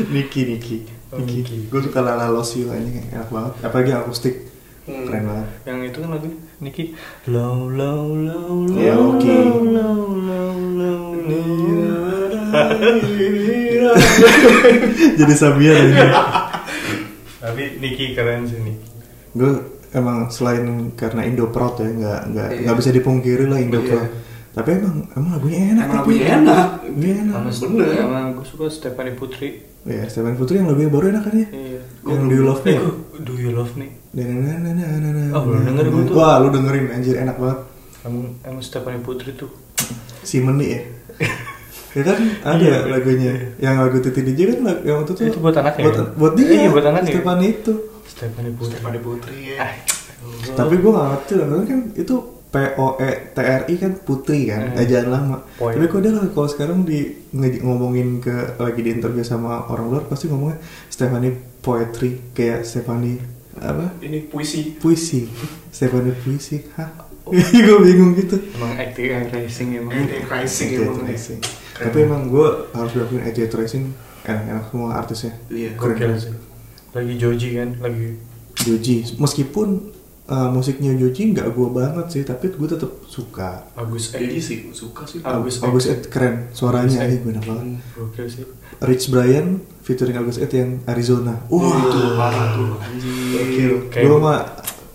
Speaker 1: Niki Niki.
Speaker 2: Oh, Niki.
Speaker 1: Niki. Gue suka Lala Losio aja enak banget. Apalagi akustik,
Speaker 3: Hmm.
Speaker 1: keren banget.
Speaker 2: yang itu kan lagu Nicki low low low low
Speaker 1: Ya, oke.
Speaker 2: low low low low low
Speaker 1: Jadi Sabia lagi.
Speaker 2: tapi Nicki keren sih Nicki
Speaker 1: gue emang selain karena Indo Proud ya nggak nggak
Speaker 3: Iya.
Speaker 1: nggak bisa dipungkiri lah Indo
Speaker 3: Iya.
Speaker 1: Proud. Tapi emang emang lagunya enak.
Speaker 3: Emang
Speaker 1: tapi.
Speaker 3: lagunya enak.
Speaker 1: Lagunya enak.
Speaker 2: sama
Speaker 3: Bener.
Speaker 2: sama gue suka Stephanie Putri
Speaker 1: Ya, Steven Putri yang lagunya baru enak kan ya?
Speaker 2: iya
Speaker 1: Yang Do You Love Me.
Speaker 2: Eh, gua- Do You Love Me
Speaker 1: Nananananana.
Speaker 2: Oh, belum denger gua tuh.
Speaker 1: Wah, lu dengerin anjir enak banget.
Speaker 2: emang emang Stephanie Putri tuh
Speaker 1: Si Meni ya. ya kan ada
Speaker 2: Iya,
Speaker 1: lagunya. Yang lagu Titi DJ kan lag- yang waktu itu
Speaker 2: Itu buat anaknya,
Speaker 1: Buat,
Speaker 2: kan?
Speaker 1: buat dia.
Speaker 2: Iya, buat anaknya. Iya.
Speaker 1: Stepan itu.
Speaker 2: Stephanie Putri
Speaker 3: Stephanie Putri ya.
Speaker 2: Ah,
Speaker 1: Tapi gua gak ngerti lah, karena kan itu P-O-E-T-R-I kan putri kan,
Speaker 2: Eh.
Speaker 1: ejaan lama.
Speaker 2: Poin.
Speaker 1: Tapi kok dia lah, kalau sekarang di nge- ngomongin ke lagi diinterview sama orang luar pasti ngomongnya Stephanie Poetry kayak Stephanie apa
Speaker 3: Ini puisi.
Speaker 1: puisi Stephanie puisi hah gue bingung gitu
Speaker 2: emang acting and racing emang ya?
Speaker 3: Ini Rising
Speaker 1: Attitude
Speaker 3: emang
Speaker 1: Rising. ya.
Speaker 3: nih. Keren.
Speaker 1: tapi emang gue harus dapetin Attitude Rising enak-enak Kan semua artisnya
Speaker 3: Iya.
Speaker 1: Keren.
Speaker 2: gokil sih lagi Joji kan lagi
Speaker 1: Joji meskipun uh, musiknya Joji nggak gue banget sih tapi gue tetap suka
Speaker 2: Agus
Speaker 3: Jadi
Speaker 2: Edi
Speaker 3: Eh, iya sih gua suka sih.
Speaker 1: Ah.
Speaker 2: Agus Ed.
Speaker 1: Agus Ed keren suaranya
Speaker 2: Agus
Speaker 1: ini
Speaker 2: Ed.
Speaker 1: gue banget
Speaker 2: gokil sih
Speaker 1: Rich Brian featuring Agus Ed yang Arizona wah
Speaker 3: Wah, itu
Speaker 1: itu
Speaker 3: parah tuh anjir.
Speaker 2: Kayak-
Speaker 1: gue mah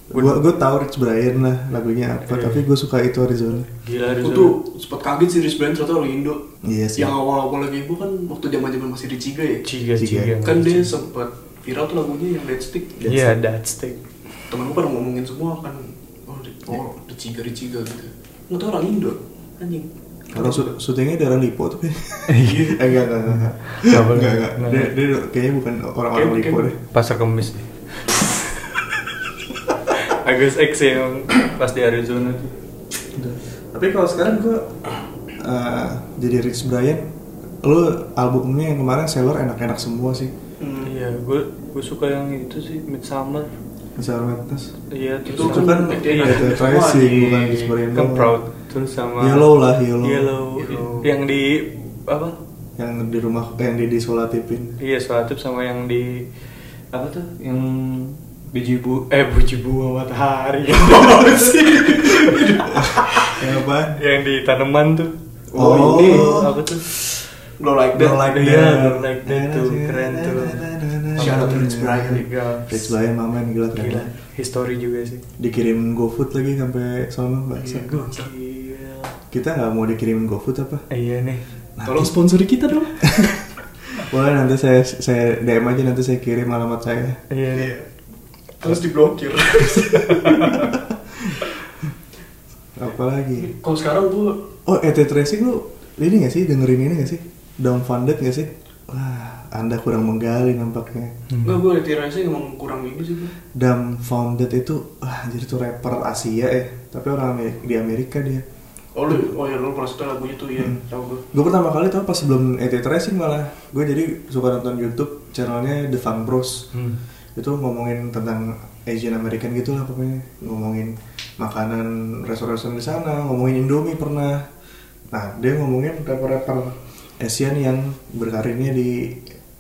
Speaker 1: gue gue tahu Rich Brian lah lagunya apa
Speaker 2: Iya.
Speaker 1: tapi gue suka itu Arizona
Speaker 2: gila
Speaker 3: Aku
Speaker 2: Rizal.
Speaker 3: tuh sempat kaget sih Rich Brian ternyata orang Indo.
Speaker 1: iya sih
Speaker 3: Yang awal-awal lagi gue kan waktu zaman-zaman masih di Ciga ya.
Speaker 2: Ciga
Speaker 1: Ciga.
Speaker 2: Ciga
Speaker 3: Kan dia sempat viral tuh lagunya yang Dead Stick.
Speaker 2: iya that stick
Speaker 3: Temen gue pada ngomongin semua kan oh di, oh, di Ciga di Ciga gitu. Nggak tahu orang Indo anjing.
Speaker 1: Kalau syut- syutingnya daerah Lipo tapi.
Speaker 2: Iya.
Speaker 1: eh enggak enggak enggak.
Speaker 2: Enggak boleh.
Speaker 1: Enggak enggak. Dia, dia kayaknya bukan orang-orang
Speaker 3: Kayak-
Speaker 1: Lipo
Speaker 3: kayak-
Speaker 1: deh.
Speaker 2: pasar kemis deh Agus X ya, yang pas di Arizona tuh
Speaker 1: Tapi kalau sekarang gua eh, jadi Rich Brian, lu albumnya yang kemarin seller enak-enak semua sih.
Speaker 3: Hmm.
Speaker 2: iya gue gue suka yang itu sih Midsummer
Speaker 1: Misalnya Madness.
Speaker 2: iya
Speaker 3: Itu
Speaker 2: terus
Speaker 1: Itu
Speaker 3: kan
Speaker 1: kan
Speaker 3: Iya.
Speaker 1: ada
Speaker 3: Wah, di-
Speaker 1: tracing bukan Rich Brian.
Speaker 2: kan
Speaker 1: doang.
Speaker 2: proud terus sama
Speaker 1: Yellow lah, yellow.
Speaker 3: Yellow.
Speaker 2: yang di apa
Speaker 1: Yang di rumah eh, yang di di Solatipin.
Speaker 2: iya solatip sama yang di apa tuh yang biji bu eh biji buah matahari
Speaker 1: Yang apaan?
Speaker 2: yang di tanaman tuh Iya,
Speaker 3: Oh, ini
Speaker 2: apa tuh
Speaker 3: Glow Like That.
Speaker 2: Don't Like
Speaker 1: Iya,
Speaker 2: That Don't Like That tuh keren tuh
Speaker 3: Shout out to Rich Brian.
Speaker 1: Rich Brian mamen gila keren
Speaker 2: Gila,
Speaker 1: banget.
Speaker 2: history juga sih
Speaker 1: Dikirim GoFood lagi sampai sono
Speaker 2: Iya,
Speaker 1: bahasa.
Speaker 2: gokil.
Speaker 1: Kita nggak mau dikirimin GoFood apa?
Speaker 2: Iya nih
Speaker 3: Tolong sponsori kita dong.
Speaker 1: Boleh nanti saya saya DM aja nanti saya kirim alamat saya.
Speaker 2: Iya nih
Speaker 3: Iya. Terus diblokir.
Speaker 1: Apalagi.
Speaker 3: Kalau sekarang gue
Speaker 1: Oh, ET Tracing lu ini gak sih dengerin ini gak sih? Downfunded gak sih? Wah, Anda kurang menggali nampaknya.
Speaker 2: Hmm.
Speaker 3: Enggak, gue tirasi emang kurang ini sih gue.
Speaker 1: Dumbfounded itu wah jadi tuh rapper Asia ya, tapi orang Amerika, di Amerika dia.
Speaker 3: Oh lu, oh ya lu pernah suka lagunya tuh ya, tau gue.
Speaker 1: Gue pertama kali tau pas sebelum ET Tracing malah. Gue jadi suka nonton YouTube channelnya The Fun Bros.
Speaker 2: Hmm.
Speaker 1: Itu ngomongin tentang Asian American gitu lah pokoknya. Ngomongin makanan restoran-restoran di sana, ngomongin Indomie pernah. Nah, dia ngomongin rapper-rapper Asian yang berkarirnya di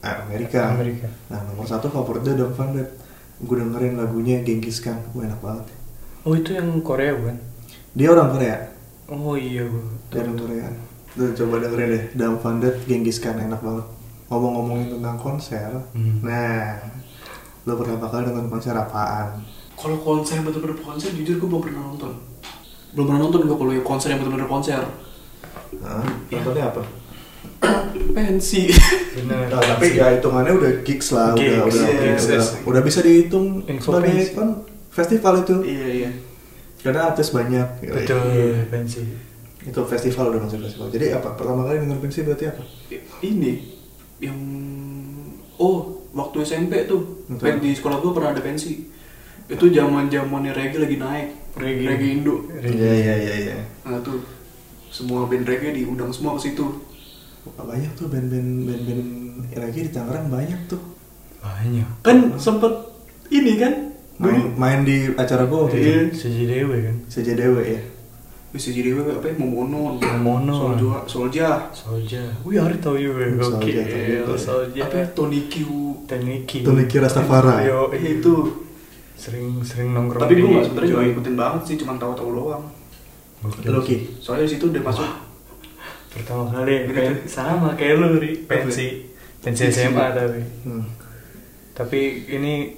Speaker 1: Amerika.
Speaker 2: Amerika.
Speaker 1: Nah, nomor satu favoritnya Don Van Gue dengerin lagunya Genghis Khan. Wah, enak banget.
Speaker 2: Oh itu yang Korea bukan?
Speaker 1: Dia orang Korea.
Speaker 2: Oh iya gue
Speaker 1: Dari Korea. Tuh coba dengerin deh, Dam Van Det, Genghis Khan enak banget. Ngomong-ngomongin tentang konser,
Speaker 2: Hmm.
Speaker 1: nah, lo pertama kali nonton konser apaan?
Speaker 3: Kalau konser bener-bener konser, jujur gue belum pernah nonton. Belum pernah nonton gue kalau yang konser yang bener-bener konser.
Speaker 1: Hah?
Speaker 2: Iya.
Speaker 1: Nontonnya apa?
Speaker 3: Pensi.
Speaker 2: Bener
Speaker 1: Nah, tapi ya hitungannya udah gigs lah,
Speaker 2: Gigs,
Speaker 1: udah, udah,
Speaker 3: iya,
Speaker 1: udah,
Speaker 3: gigs,
Speaker 1: udah,
Speaker 3: yes.
Speaker 1: udah bisa dihitung
Speaker 2: Yang
Speaker 1: sebagai
Speaker 2: showcase.
Speaker 1: kan festival itu.
Speaker 3: iya iya.
Speaker 1: Karena artis banyak. gitu.
Speaker 2: Betul pensi
Speaker 1: Itu festival udah masuk festival. Jadi apa? Pertama kali denger pensi berarti apa?
Speaker 3: I- Ini yang oh waktu SMP tuh
Speaker 1: Betul.
Speaker 3: pen- di sekolah gue pernah ada pensi. Itu zaman zamannya reggae lagi naik.
Speaker 2: Reggae.
Speaker 3: reggae Indo.
Speaker 1: Iya iya iya iya.
Speaker 3: Nah tuh semua band reggae diundang semua ke situ.
Speaker 1: Banyak tuh band-band band-band lagi di Tangerang banyak tuh.
Speaker 2: Banyak
Speaker 3: Kan sempet ini kan
Speaker 1: Main, main di acara gue waktu itu.
Speaker 2: Iya Seji Dewe kan
Speaker 1: Saja Dewa ya.
Speaker 3: bisa jadi apa ya Momonon
Speaker 2: Momonon.
Speaker 3: Solja Solja
Speaker 2: Soja We are tau you were
Speaker 1: Soulja,
Speaker 2: Gokil
Speaker 1: Soulja.
Speaker 2: Soja
Speaker 3: apa ya Tony Q Iya,
Speaker 2: Teniki
Speaker 1: Teniki Rastafari.
Speaker 2: Yo
Speaker 3: itu
Speaker 2: itu Sering-sering nongkrong
Speaker 3: tapi gue
Speaker 2: di-
Speaker 3: nggak sebenarnya nggak ngikutin banget sih cuma tahu-tahu doang
Speaker 2: Gokil.
Speaker 1: Lo Ki.
Speaker 3: soalnya di situ udah masuk
Speaker 2: Pertama
Speaker 1: Gitu.
Speaker 2: kali pen- Sama kayak lu Ri Pensi Pensi SMA tapi
Speaker 1: Hmm.
Speaker 2: Tapi ini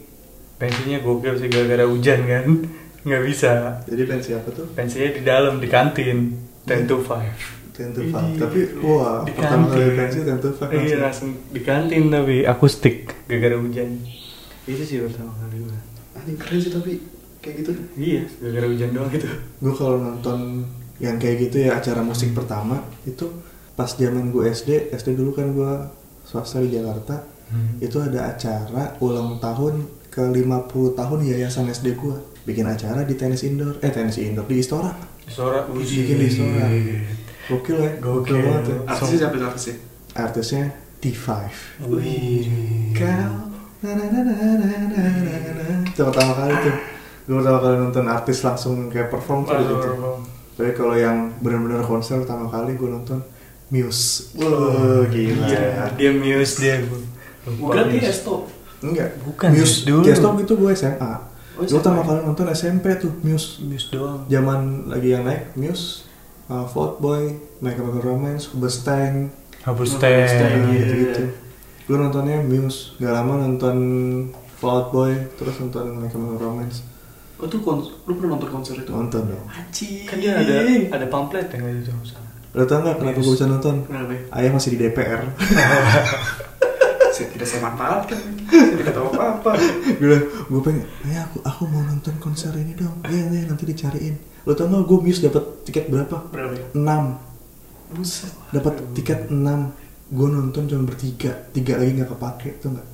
Speaker 2: Pensinya gokil sih gara-gara hujan kan Nggak bisa
Speaker 1: Jadi band siapa tuh?
Speaker 2: Pensinya di dalam di kantin 10 to 5
Speaker 1: Ten to Five.
Speaker 2: Ini-
Speaker 1: Tapi wah
Speaker 2: di
Speaker 1: pertama kali
Speaker 2: kantin.
Speaker 1: pensi Ten to Five.
Speaker 2: Iya
Speaker 1: langsung.
Speaker 2: langsung di kantin tapi akustik gara-gara hujan. Itu sih pertama kali gua.
Speaker 3: anjing Ah, keren sih tapi kayak gitu
Speaker 2: Iya, gara-gara hujan doang gitu.
Speaker 1: Gue kalau nonton yang kayak gitu ya acara musik pertama itu pas zaman gue SD, SD dulu kan gue swasta di Jakarta itu ada acara ulang tahun ke 50 tahun yayasan SD gue bikin acara di tenis indoor eh tenis indoor di Istora
Speaker 2: Suara
Speaker 1: bikin di Istora gokil ya
Speaker 2: Gokil.
Speaker 1: banget ya.
Speaker 3: artisnya siapa tuh artisnya
Speaker 1: artisnya T5
Speaker 2: Wih.
Speaker 1: Kau na na na na na na na na. Itu pertama kali tuh Gue pertama kali nonton artis langsung kayak perform tuh
Speaker 2: Masuk
Speaker 1: gitu
Speaker 2: rumah.
Speaker 1: Tapi kalau yang benar-benar konser pertama kali gue nonton Muse Wah gila
Speaker 2: Iya, dia muse dia gua. Lupa
Speaker 3: bukan dia
Speaker 2: Muse.
Speaker 3: Esto
Speaker 1: Enggak
Speaker 2: Bukan,
Speaker 1: Muse
Speaker 2: dulu.
Speaker 1: dulu Gestok itu gue SMA
Speaker 3: Oh,
Speaker 1: Gue pertama
Speaker 3: SMA.
Speaker 1: kali nonton SMP tuh Muse
Speaker 2: Muse doang.
Speaker 1: Zaman lagi yang naik Muse uh, Boy, My Chemical Romance, Hubestang
Speaker 2: Hapus
Speaker 3: Hapus
Speaker 2: teh.
Speaker 3: teh. Iya.
Speaker 1: gitu-gitu Gue nontonnya Muse Gak lama nonton Fallout Boy Terus nonton My Chemical Romance
Speaker 3: oh tuh kons lu pernah nonton konser itu
Speaker 1: Nonton dong.
Speaker 3: anjing
Speaker 2: Kan dia ada ada pamflet yang gitu, ada di sana.
Speaker 1: Lo tau gak kenapa gue bisa nonton?
Speaker 3: kenapa ya?
Speaker 1: Ayah masih di DPR.
Speaker 3: saya tidak saya manfaatkan saya tidak tahu apa apa
Speaker 1: gue gue pengen, ayah aku, aku mau nonton konser ini dong. Iya, iya nanti dicariin. Lo tau gak gue Muse dapat tiket berapa?
Speaker 3: berapa ya?
Speaker 1: 6.
Speaker 3: buset
Speaker 1: Dapat tiket 6. Gue nonton cuma bertiga. Tiga lagi gak kepake, tuh gak?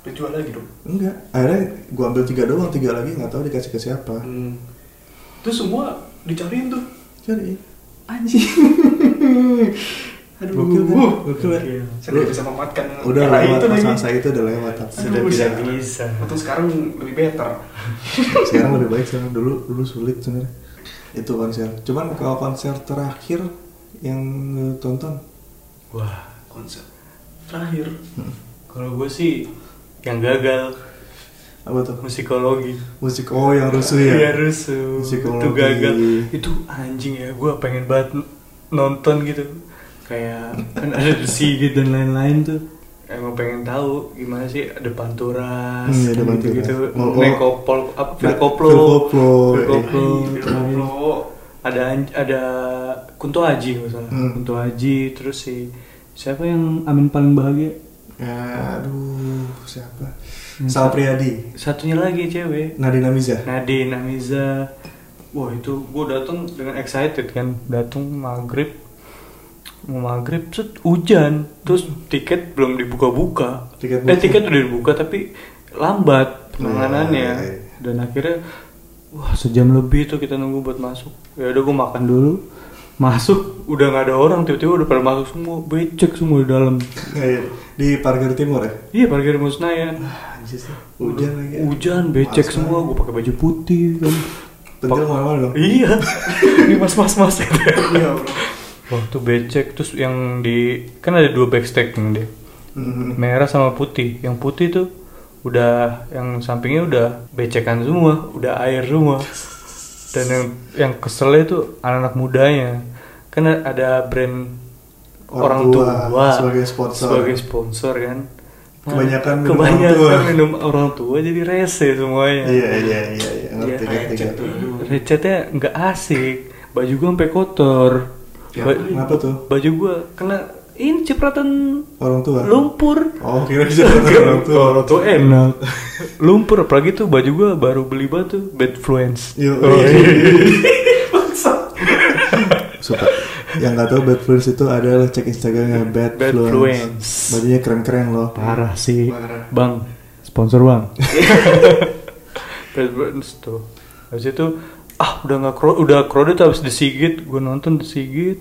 Speaker 3: dijual lagi dong
Speaker 1: Enggak. Akhirnya gue ambil tiga doang, tiga lagi gak tahu dikasih ke siapa.
Speaker 3: hmm. itu semua dicariin tuh
Speaker 1: Cari.
Speaker 3: anjing aduh
Speaker 1: Gokil kan? Gokil ya?
Speaker 2: Gokil.
Speaker 3: Iya, saya tidak bisa memanfaatkan
Speaker 1: Udah
Speaker 3: era
Speaker 1: lewat,
Speaker 3: itu lagi
Speaker 1: masa itu udah lewat. tapi
Speaker 2: Sudah
Speaker 3: Aduh,
Speaker 2: tidak
Speaker 3: saya-
Speaker 2: bisa.
Speaker 3: Untung sekarang lebih better
Speaker 1: sekarang lebih baik sekarang dulu dulu sulit sebenarnya itu konser cuman kalau konser terakhir yang lu tonton
Speaker 2: Wah,
Speaker 3: konser terakhir
Speaker 2: kalau gue sih yang gagal
Speaker 1: apa tuh
Speaker 2: musikologi.
Speaker 1: musik oh yang rusuh
Speaker 2: Iya
Speaker 1: ya
Speaker 2: rusuh.
Speaker 1: Musikologi.
Speaker 2: Itu gagal. Itu anjing ya. Gue pengen banget nonton gitu kayak kan ada The Sigit dan lain-lain tuh emang pengen tahu gimana sih ada panturas
Speaker 1: Hmm, iya, ada
Speaker 2: gitu gitu
Speaker 1: Panturas. Mau- mau-
Speaker 2: nekopol apa
Speaker 1: Nah,
Speaker 2: Firkoplo
Speaker 1: Firkoplo,
Speaker 2: Firkoplo,
Speaker 3: Iya,
Speaker 2: terakhir.
Speaker 3: Firkoplo.
Speaker 2: ada An- ada Kunto Aji kalau nggak salah
Speaker 1: Hmm.
Speaker 2: Kunto Aji terus si siapa yang Amin paling bahagia
Speaker 1: Ya, aduh, siapa?
Speaker 2: Hmm.
Speaker 1: Sal Priadi,
Speaker 2: satunya lagi cewek
Speaker 1: Nadine Amiza.
Speaker 2: Nadine Amiza wah itu gue datang dengan excited kan datang maghrib mau maghrib set hujan terus tiket belum dibuka-buka
Speaker 1: Tiket
Speaker 2: eh
Speaker 1: buka.
Speaker 2: tiket udah dibuka tapi lambat penanganannya
Speaker 1: Nah, iya.
Speaker 2: dan akhirnya wah sejam lebih tuh kita nunggu buat masuk ya udah gue makan dulu masuk udah nggak ada orang tiba-tiba udah pada masuk semua becek semua di dalam
Speaker 1: Kayak Eh, di parkir timur ya?
Speaker 2: iya parkir Musnayan
Speaker 1: Anjir sih, hujan lagi. ya?
Speaker 2: hujan becek
Speaker 1: Masa.
Speaker 2: semua gue pakai baju putih kan
Speaker 1: Pentil mana-mana dong.
Speaker 2: Iya. Ini mas-mas mas.
Speaker 3: Iya, bro.
Speaker 2: Waktu becek terus yang di kan ada dua backstage nih deh.
Speaker 1: Mhm.
Speaker 2: Merah sama putih. Yang putih tuh udah yang sampingnya udah becekan semua, udah air semua. Dan yang yang keselnya itu anak-anak mudanya. Kan ada brand orang,
Speaker 1: Orang
Speaker 2: tua,
Speaker 1: tua sebagai sponsor.
Speaker 2: sebagai sponsor kan.
Speaker 1: Kebanyakan minum orang
Speaker 2: kebanyakan
Speaker 1: tua.
Speaker 2: minum orang tua jadi rese semuanya
Speaker 1: Iya, iya, iya, iya, ngerti,
Speaker 2: Iya.
Speaker 1: ngerti, ngerti.
Speaker 2: Recetnya nggak asik, baju gua sampai kotor.
Speaker 3: Ya,
Speaker 1: kenapa tuh?
Speaker 2: Baju gua kena ini cipratan
Speaker 1: Orang tua.
Speaker 2: lumpur.
Speaker 1: Oh, kira bisa orang tua.
Speaker 2: Kalau tuh enak. lumpur apalagi tuh baju gua baru beli banget tuh bad influence.
Speaker 3: Iya.
Speaker 1: Yo,
Speaker 2: Oh,
Speaker 1: Suka. Yang nggak tahu bad Fluence itu adalah cek Instagramnya bad,
Speaker 2: Bad
Speaker 1: Fluence.
Speaker 2: Fluence.
Speaker 1: Bajunya keren-keren loh.
Speaker 2: Parah sih.
Speaker 3: Parah.
Speaker 2: Bang, sponsor Bang. bad influence tuh. Habis itu ah udah nggak kro- udah crowded habis disigit, gua nonton disigit.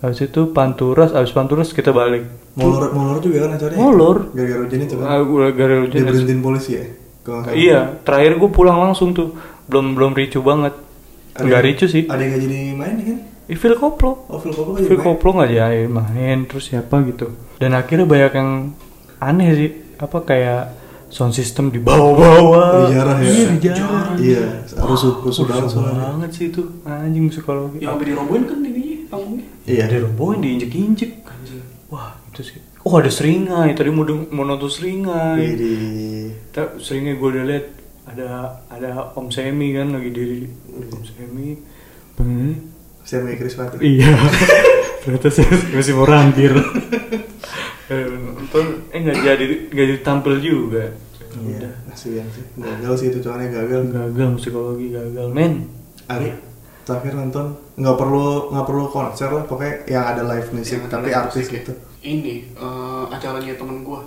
Speaker 2: Habis itu Panturas, habis Panturas kita balik.
Speaker 1: Molor, molor juga kan acaranya.
Speaker 2: Molor.
Speaker 1: Gara-gara hujan itu
Speaker 2: Ah,
Speaker 1: kan.
Speaker 2: gua gara
Speaker 1: Dia
Speaker 2: hujan.
Speaker 1: berhentiin polisi ya. Kalau nggak salah.
Speaker 2: Iya, terakhir gue pulang langsung tuh. Belum belum ricu banget.
Speaker 1: Ada-
Speaker 2: Enggak ricu sih.
Speaker 1: Ada yang nggak jadi main kan?
Speaker 2: Evil koplo.
Speaker 1: Oh, Phil Koplo
Speaker 2: Evil koplo nggak jadi main terus siapa gitu. Dan akhirnya banyak yang aneh sih. Apa kayak sound system di
Speaker 1: Oh,
Speaker 2: bawah-bawah.
Speaker 1: dijarah ya?
Speaker 2: Iya, Oh, dijarah.
Speaker 1: Iya, rusuh, rusuh
Speaker 2: Susah
Speaker 1: banget soalnya.
Speaker 2: banget sih itu. Anjing musikologi.
Speaker 3: Yang sampai dirobohin kan ininya panggungnya.
Speaker 1: Iya.
Speaker 2: Dirobohin, diinjek-injek. Wah, itu sih. Oh, ada seringai. Tadi mau, deng- mau nonton seringai.
Speaker 1: Jadi
Speaker 2: Ta- seringnya gue udah liat ada ada Om Semi kan lagi diri Om Semi pengen
Speaker 1: saya mikir sepatu.
Speaker 2: iya ternyata saya masih mau rantir Eh, nonton eh nggak jadi nggak jadi tampil juga
Speaker 1: Iya,
Speaker 2: udah
Speaker 1: kasihan sih. Gagal sih itu soalnya gagal.
Speaker 2: gagal musikologi gagal men
Speaker 1: Ari terakhir nonton nggak perlu nggak perlu konser lah pokoknya yang ada live music
Speaker 3: Yang
Speaker 1: Iya, tapi
Speaker 3: ada
Speaker 1: artis
Speaker 3: musik ya.
Speaker 1: gitu
Speaker 3: Ini eh, acaranya temen gua.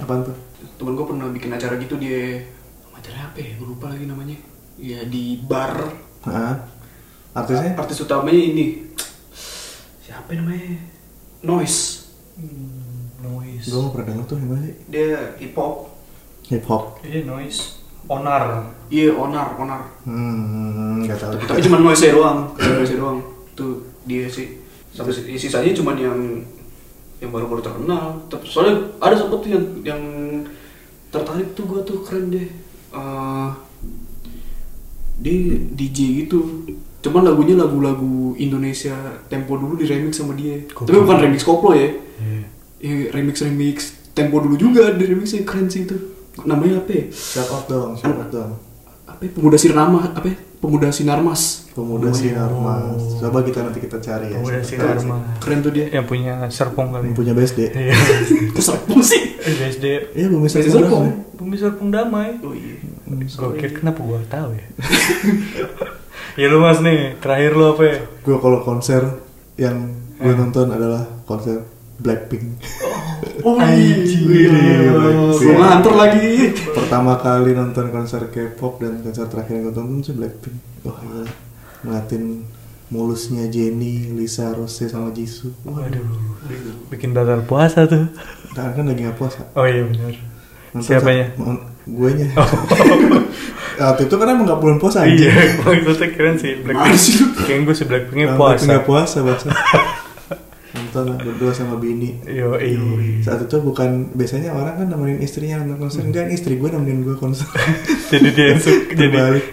Speaker 1: apaan tuh
Speaker 3: Temen gua pernah bikin acara gitu dia acara apa ya? Gua lupa lagi namanya. Ya di bar.
Speaker 1: Heeh. artisnya
Speaker 3: Artis utamanya ini. Siapa namanya? Noise.
Speaker 1: gue
Speaker 2: Hmm, noise
Speaker 1: nggak pernah denger tuh yang mana sih
Speaker 3: Dia hip hop.
Speaker 1: hip hop
Speaker 2: iya noise onar
Speaker 3: Iya, onar, onar.
Speaker 1: hmm nggak tahu
Speaker 3: Tapi cuma noise doang, cuma noise doang. Tuh dia sih. Sampai si- eh, sisanya cuma yang yang baru-baru terkenal. Tapi soalnya ada sempet tuh yang yang tertarik tuh gua tuh keren deh. Eh, dia DJ gitu. Cuman lagunya lagu-lagu Indonesia tempo dulu di remix sama dia. Tapi bukan remix koplo ya.
Speaker 2: Iya.
Speaker 3: Ya, remix remix tempo dulu juga di remixnya keren sih itu. Namanya apa ya?
Speaker 1: shout out dong shout out dong
Speaker 3: Apa ya? Pemuda Sinarmas, apa ya? Pemuda Sinarmas.
Speaker 1: pemuda sinarmas coba kita nanti kita cari ya
Speaker 2: Pemuda
Speaker 1: siapa
Speaker 2: Sinar
Speaker 1: tahu sih.
Speaker 2: Mas.
Speaker 3: Keren tuh dia.
Speaker 2: yang punya serpong kali ya.
Speaker 1: yang punya BSD
Speaker 2: iya Eh,
Speaker 3: Kok serpong sih?
Speaker 2: SD
Speaker 1: iya bumi serpong
Speaker 3: Besti Serpong.
Speaker 1: ya?
Speaker 2: bumi serpong damai
Speaker 3: Oh iya.
Speaker 2: Gokil, kenapa gua tahu ya? ya lu mas nih, terakhir lu apa ya?
Speaker 1: gue kalau konser yang gue nonton adalah konser Blackpink
Speaker 3: Oh
Speaker 1: Anjing.
Speaker 3: iya, Gue nganter lagi.
Speaker 1: pertama kali nonton konser K-pop dan konser terakhir yang gue tonton sih Blackpink wah gila ngeliatin mulusnya Jennie, Lisa, Rose sama Jisoo wah
Speaker 2: Waduh, bikin batal puasa tuh.
Speaker 1: kan, kan lagi nggak puasa
Speaker 2: Oh iya benar.
Speaker 1: Nonton
Speaker 2: Siapanya? Oh.
Speaker 1: sa- mon- guenya waktu itu kan emang nggak bulan puasa aja
Speaker 2: Iya, maksudnya keren sih
Speaker 3: Apaan sih lu?
Speaker 2: Blackpink. Kayaknya gue si Blackpinknya
Speaker 1: puasa
Speaker 2: puasa.
Speaker 1: nggak puasa bahasa nonton lah berdua sama Bini
Speaker 2: Yo, iya.
Speaker 1: saat itu bukan biasanya orang kan nemenin istrinya nonton konser enggak ini istri gue nemenin gue konser
Speaker 2: Hmm. Jadi dia yang suka. Jadi.
Speaker 1: Terbalik.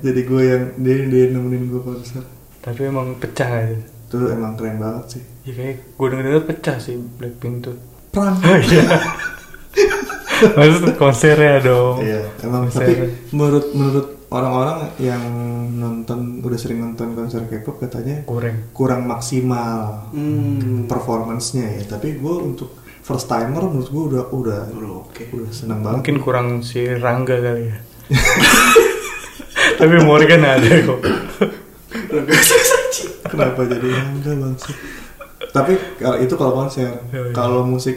Speaker 1: jadi gue yang dia dia nemenin gue konser
Speaker 2: Tapi emang pecah aja.
Speaker 1: itu emang keren banget sih
Speaker 2: Ya kayak gue denger-denger pecah sih Blackpink tuh
Speaker 1: perang
Speaker 2: Iya Maksud konsernya dong
Speaker 1: Iya, emang
Speaker 2: Konser.
Speaker 1: tapi menurut menurut orang-orang yang nonton udah sering nonton konser K-pop katanya
Speaker 2: Kurang
Speaker 1: kurang maksimal
Speaker 3: Hmm.
Speaker 1: performance-nya ya. Tapi gue untuk first timer menurut gue udah udah
Speaker 3: Udah Oh, oke.
Speaker 1: udah seneng banget.
Speaker 2: Mungkin kurang si Rangga kali ya Tapi Morgan ada kok
Speaker 1: Kenapa jadi enggak bangsat? Tapi kalau itu kalau konser,
Speaker 2: Iya, iya.
Speaker 1: kalau musik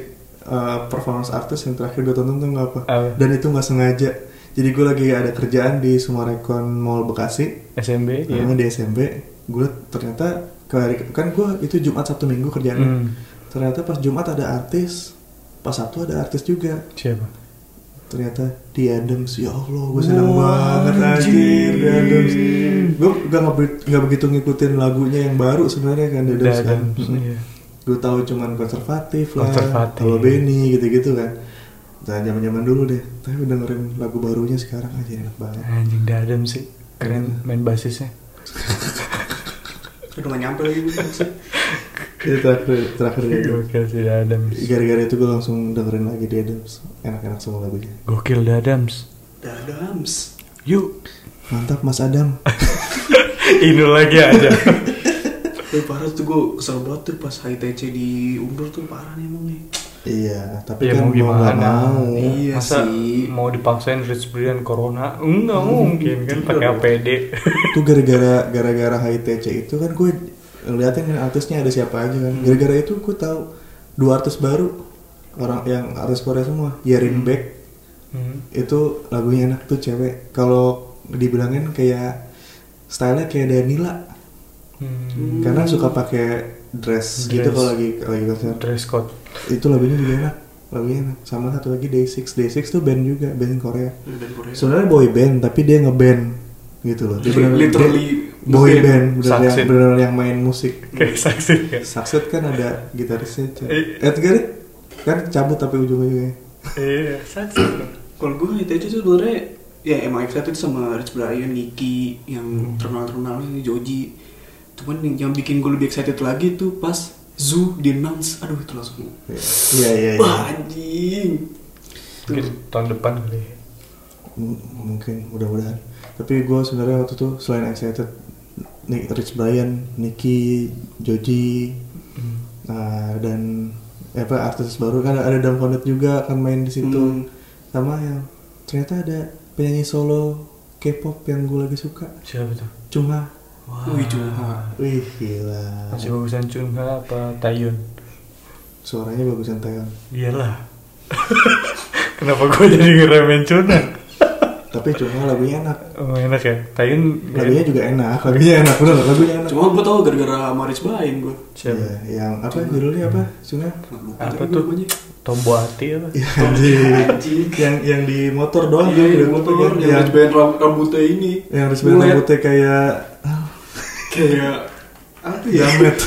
Speaker 1: eh, performance artis yang terakhir gue tonton tuh nggak apa.
Speaker 2: Apa?
Speaker 1: Dan itu nggak sengaja. Jadi gue lagi ada kerjaan di Sumarekon Mall Bekasi.
Speaker 2: SMB ya
Speaker 1: Karena di SMP gue ternyata ke hari- kan gue itu Jumat Sabtu Minggu kerjaannya.
Speaker 2: Hmm.
Speaker 1: Ternyata pas Jumat ada artis, pas Sabtu ada artis juga.
Speaker 2: Siapa?
Speaker 1: Ternyata di Adams ya Allah gue seneng
Speaker 2: Wah,
Speaker 1: banget anjir di Adams. Gue gak, nge- gak begitu ngikutin lagunya yang baru sebenarnya kan di Adams kan.
Speaker 2: Adams, iya.
Speaker 1: Gue tahu cuman konservatif lah,
Speaker 2: Konservatif.
Speaker 1: kalau Benny gitu-gitu kan. Nah zaman-zaman dulu deh. Tapi dengerin lagu barunya sekarang aja enak banget.
Speaker 2: Anjing Dadam sih
Speaker 1: Hmm.
Speaker 2: Keren main basisnya
Speaker 3: Udah gak nyampe lagi gue.
Speaker 1: Itu terakhir terakhir di Adams.
Speaker 2: Gokil si Dadam
Speaker 1: Gara-gara itu gue langsung dengerin lagi di Adams Enak-enak semua lagunya
Speaker 2: Gokil Dadams
Speaker 3: Dadams.
Speaker 2: Yuk
Speaker 1: Mantap Mas Adam
Speaker 2: Inul lagi aja
Speaker 3: Eh parah tuh gue kesel banget tuh pas HITC diundur tuh parah nih emang nih.
Speaker 1: Iya tapi
Speaker 2: Ya mau
Speaker 1: kan
Speaker 2: gimana
Speaker 1: nggak mau
Speaker 3: Iya
Speaker 2: Masa
Speaker 3: sih.
Speaker 2: mau dipaksain Rich Brian Corona Enggak
Speaker 1: Hmm.
Speaker 2: mungkin
Speaker 1: Iya
Speaker 2: kan pakai APD
Speaker 1: Itu gara-gara gara-gara HITC itu kan gue Liatin kan artisnya ada siapa aja
Speaker 2: Hmm.
Speaker 1: kan Gara-gara itu gue tahu Dua artis baru Orang yang artis Korea semua Yerin Beck
Speaker 2: Hmm.
Speaker 1: Itu lagunya enak tuh cewek Kalau dibilangin kayak Stylenya kayak Danila
Speaker 2: Hmm.
Speaker 1: Karena suka pakai dress, gitu
Speaker 2: Dress.
Speaker 1: kalau lagi lagi konser
Speaker 2: Dress code
Speaker 1: itu lagunya juga enak lagunya enak sama satu lagi Day6 Day6 tuh band juga band Korea
Speaker 3: Ini dari Korea.
Speaker 1: sebenarnya boy band tapi dia ngeband gitu loh Dia
Speaker 3: Li-
Speaker 1: beneran-
Speaker 3: literally
Speaker 1: dia boy
Speaker 3: ngeband.
Speaker 1: band beneran yang,
Speaker 2: Saksin.
Speaker 1: beneran yang main musik
Speaker 2: Kayak saksi ya
Speaker 1: Sakset kan ada gitarisnya Ca-
Speaker 2: Eh.
Speaker 1: Edgar kan cabut tapi ujung-ujungnya
Speaker 2: Iya saksi
Speaker 3: Kalau gue HITC tuh sebenernya ya emang excited sama Rich Brian, Nicky yang terkenal-terkenal ini Joji. Cuman yang, yang bikin gue lebih excited lagi tuh pas Zoo di announce. Aduh itu langsung.
Speaker 1: iya iya iya
Speaker 3: Wah anjing.
Speaker 2: Mungkin tahun depan kali ya.
Speaker 1: M- mungkin mudah-mudahan tapi gue sebenarnya waktu itu selain excited Nick, Rich Brian, Nicky, Joji nah, dan eh, apa artis baru kan ada Dan Fonet juga akan main di situ
Speaker 3: Hmm.
Speaker 1: sama yang ternyata ada penyanyi solo K-pop yang gue lagi suka
Speaker 2: Siapa tuh?
Speaker 1: cuma
Speaker 2: Wah
Speaker 3: Wih cuma.
Speaker 1: wih gila
Speaker 2: Masih bagusan Chunha apa Taeyun?
Speaker 1: suaranya bagusan Taeyong
Speaker 2: Iyalah Kenapa gue jadi ngeremen Chunha?
Speaker 1: tapi cuma lagunya enak
Speaker 2: Oh, enak ya? Taeyun
Speaker 1: lagunya juga enak lagunya enak bener lagunya enak
Speaker 3: Cuma gue tau gara-gara sama Rich Brian gue.
Speaker 2: Siapa?
Speaker 1: Iya, yang apa judulnya apa Cuma
Speaker 3: Lupa
Speaker 2: Apa
Speaker 3: tadi
Speaker 2: tuh?
Speaker 3: gua namanya.
Speaker 2: Tombo hati apa?
Speaker 1: Iya, anjing.
Speaker 3: Anjing.
Speaker 1: yang yang di motor doang
Speaker 3: Iya,
Speaker 1: kan,
Speaker 3: yang
Speaker 1: di
Speaker 3: motor,
Speaker 1: kan?
Speaker 3: yang
Speaker 1: yang
Speaker 3: Rich Brian ram- rambutnya ini.
Speaker 1: yang harus bilang
Speaker 3: Bulet.
Speaker 1: rambutnya kayak ah,
Speaker 3: Kayak apa ya?
Speaker 1: jamet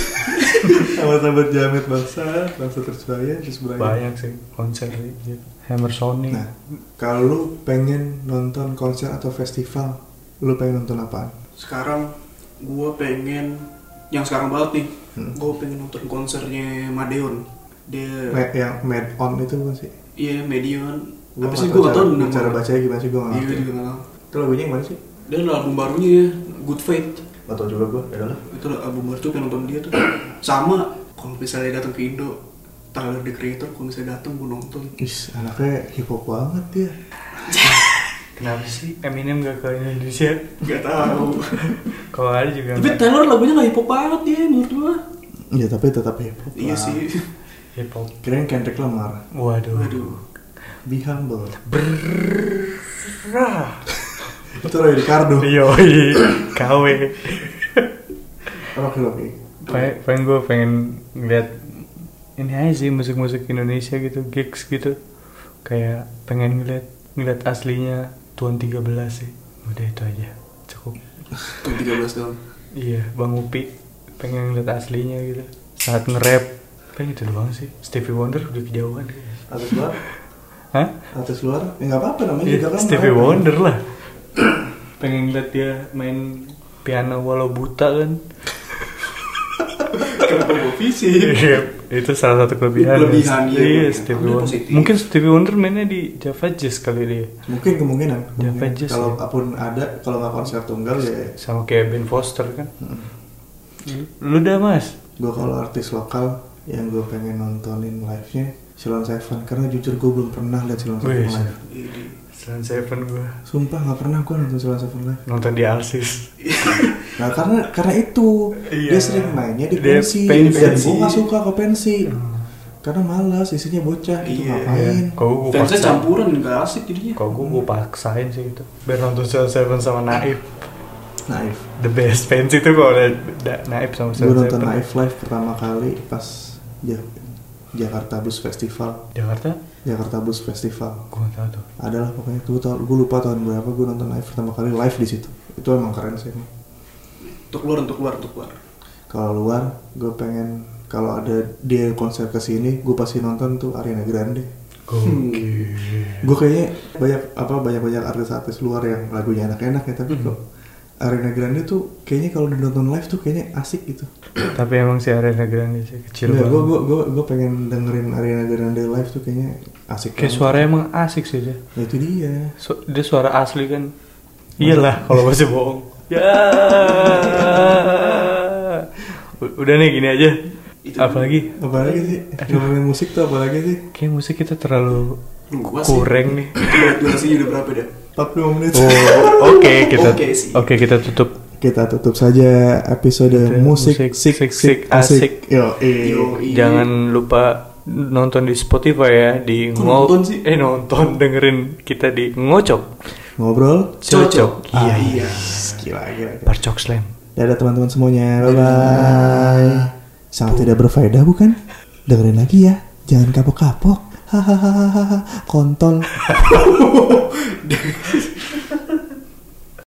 Speaker 1: sahabat-sahabat jamet bangsa bangsa terus bayar terus bayar
Speaker 2: Banyak sih konser gitu. Hammer Sony
Speaker 1: nah kalau lu pengen nonton konser atau festival lu pengen nonton apaan
Speaker 3: Sekarang gue pengen yang sekarang banget nih.
Speaker 1: Hmm.
Speaker 3: Gue pengen nonton konsernya Madeon. Dia
Speaker 1: Me- yang made on itu bukan sih
Speaker 3: Iya, Medion.
Speaker 1: Gua
Speaker 3: Apa sih
Speaker 1: nggak
Speaker 3: gue gak
Speaker 1: cara-
Speaker 3: tau nama.
Speaker 1: cara bacanya gimana sih gue nggak
Speaker 3: Iya,
Speaker 1: ngerti
Speaker 3: juga gak tau.
Speaker 1: itu lagunya yang mana sih
Speaker 3: Dia ada album barunya ya, Good Faith.
Speaker 1: Gak tau juga gue, adalah
Speaker 3: Itu lah album baru tuh pengen nonton dia tuh. Sama, kalau misalnya datang ke Indo, Tyler the Creator kalau misalnya datang gue nonton.
Speaker 1: Is, anaknya hip hop banget dia
Speaker 2: Kenapa sih Eminem gak ke Indonesia?
Speaker 3: Gak tau.
Speaker 2: Kalau ada juga
Speaker 3: Tapi
Speaker 2: nggak.
Speaker 3: Tyler lagunya gak hip hop banget ya menurut gue.
Speaker 1: Ya tapi tetap hip hop lah.
Speaker 3: Iya sih.
Speaker 2: hip hop.
Speaker 1: Kirain Kendrick Lamar
Speaker 2: Waduh.
Speaker 3: Waduh.
Speaker 1: Be humble
Speaker 2: Berah.
Speaker 1: Itu Roy Ricardo
Speaker 2: Iya. Yoi, KW.
Speaker 1: Rocky Rocky
Speaker 2: Pengen,
Speaker 1: Iya.
Speaker 2: pengen gue pengen ngeliat ini aja sih musik-musik Indonesia gitu, gigs gitu. Kayak pengen ngeliat ngeliat aslinya Tuan 13 sih. Udah itu aja. Cukup.
Speaker 3: Tuh 13 doang.
Speaker 2: Iya, Bang Upi pengen ngeliat aslinya gitu. Saat nge-rap. Pengen itu doang sih. Stevie Wonder udah kejauhan.
Speaker 1: Atas luar
Speaker 2: Hah?
Speaker 1: Atas luar Ya nggak apa-apa namanya
Speaker 2: Iya,
Speaker 1: juga kan
Speaker 2: Stevie
Speaker 1: orang.
Speaker 2: Wonder lah. Pengen lihat dia main piano walau buta kan.
Speaker 3: kenapa gue fisik
Speaker 2: Iya, itu salah satu kelebihan.
Speaker 3: Kelebihan, iya,
Speaker 2: Iya,
Speaker 3: iya.
Speaker 2: Stevie
Speaker 3: Ambil
Speaker 2: Wonder.
Speaker 3: positif.
Speaker 2: Mungkin Stevie Wonder mainnya di Java Jazz kali dia.
Speaker 1: mungkin kemungkinan,
Speaker 2: Jangan
Speaker 1: kemungkinan.
Speaker 2: pages,
Speaker 1: kalau
Speaker 2: ya.
Speaker 1: apapun ada kalau nggak konser tunggal ya
Speaker 2: Sama kayak Ben Foster kan.
Speaker 3: Hmm.
Speaker 2: Lu dah mas?
Speaker 1: gue kalau artis lokal yang gue pengen nontonin live nya Silon Seven karena jujur gue belum pernah lihat Silon Seven
Speaker 2: Wih. iya.
Speaker 1: live
Speaker 3: Ini.
Speaker 2: Selain Seven gua
Speaker 1: sumpah nggak pernah gue nonton Silon Seven live
Speaker 2: nonton di Alsis.
Speaker 3: Iya.
Speaker 1: nah karena karena itu
Speaker 2: Iya.
Speaker 1: dia sering mainnya di
Speaker 2: Dia
Speaker 1: pensi,
Speaker 2: pensi.
Speaker 1: dan gue nggak suka ke pensi karena malas isinya bocah gitu
Speaker 3: Iya.
Speaker 1: ngapain
Speaker 2: Kau gua
Speaker 3: fansnya
Speaker 2: paksain.
Speaker 3: campuran nggak asik jadinya
Speaker 2: Kau gua, gua paksain sih itu. Biar nonton Selain Seven sama Naif.
Speaker 1: Naif
Speaker 2: The best fans itu kalau udah da- Naif sama
Speaker 1: gue
Speaker 2: Selain
Speaker 1: nonton
Speaker 2: Seven.
Speaker 1: Naif live pertama kali pas Ja- Jakarta Blues Festival
Speaker 2: Jakarta?
Speaker 1: Jakarta Blues Festival
Speaker 2: Gua nggak tahu tuh.
Speaker 1: adalah pokoknya gue tau gue lupa tahun berapa gue nonton live pertama kali live di situ itu emang keren sih emang.
Speaker 3: untuk keluar untuk keluar untuk keluar
Speaker 1: kalau luar gue pengen kalau ada dia konser ke sini gue pasti nonton tuh Ariana Grande
Speaker 3: Hmm.
Speaker 2: Gokil.
Speaker 1: gue kayaknya banyak apa banyak banyak artis-artis luar yang lagunya enak-enak ya tapi kok Ariana Grande tuh kayaknya kalau ditonton live tuh kayaknya asik gitu
Speaker 2: Tapi emang si Ariana Grande sih kecil
Speaker 1: Nah,
Speaker 2: banget.
Speaker 1: gue gue gue gue pengen dengerin Ariana Grande live tuh kayaknya asik
Speaker 2: Kayak
Speaker 1: banget.
Speaker 2: suaranya emang asik sih dia.
Speaker 1: Nah, itu dia
Speaker 2: Su- dia suara asli kan. Iyalah kalau masih bohong. Ya. U- Udah nih gini aja.
Speaker 3: Itu
Speaker 2: Apalagi
Speaker 1: apalagi sih ngomongin musik tuh apalagi sih
Speaker 2: kayak musik kita terlalu
Speaker 3: luas sih
Speaker 2: kurang nih.
Speaker 3: Itu durasinya udah berapa dah
Speaker 1: 42 menit
Speaker 2: Oh, oke kita
Speaker 3: Oke
Speaker 2: oke
Speaker 3: sih.
Speaker 2: kita tutup.
Speaker 1: kita tutup saja episode musik,
Speaker 2: musik,
Speaker 1: sik,
Speaker 2: sik,
Speaker 1: sik,
Speaker 2: sik, asik.
Speaker 1: asik. Yo, eh.
Speaker 3: Yo, i-
Speaker 2: Jangan lupa nonton di Spotify ya di
Speaker 3: Kok
Speaker 2: ngo-
Speaker 3: nonton sih?
Speaker 2: eh nonton dengerin kita di ngocok
Speaker 1: Ngobrol. Ah,
Speaker 2: cocok
Speaker 3: iya iya
Speaker 1: Gila, gila, gila.
Speaker 2: parcok slam
Speaker 1: Dadah teman-teman semuanya. Bye bye. Sangat tidak berfaedah bukan? Dengerin lagi ya. Jangan kapok-kapok. Hahaha. Kontol.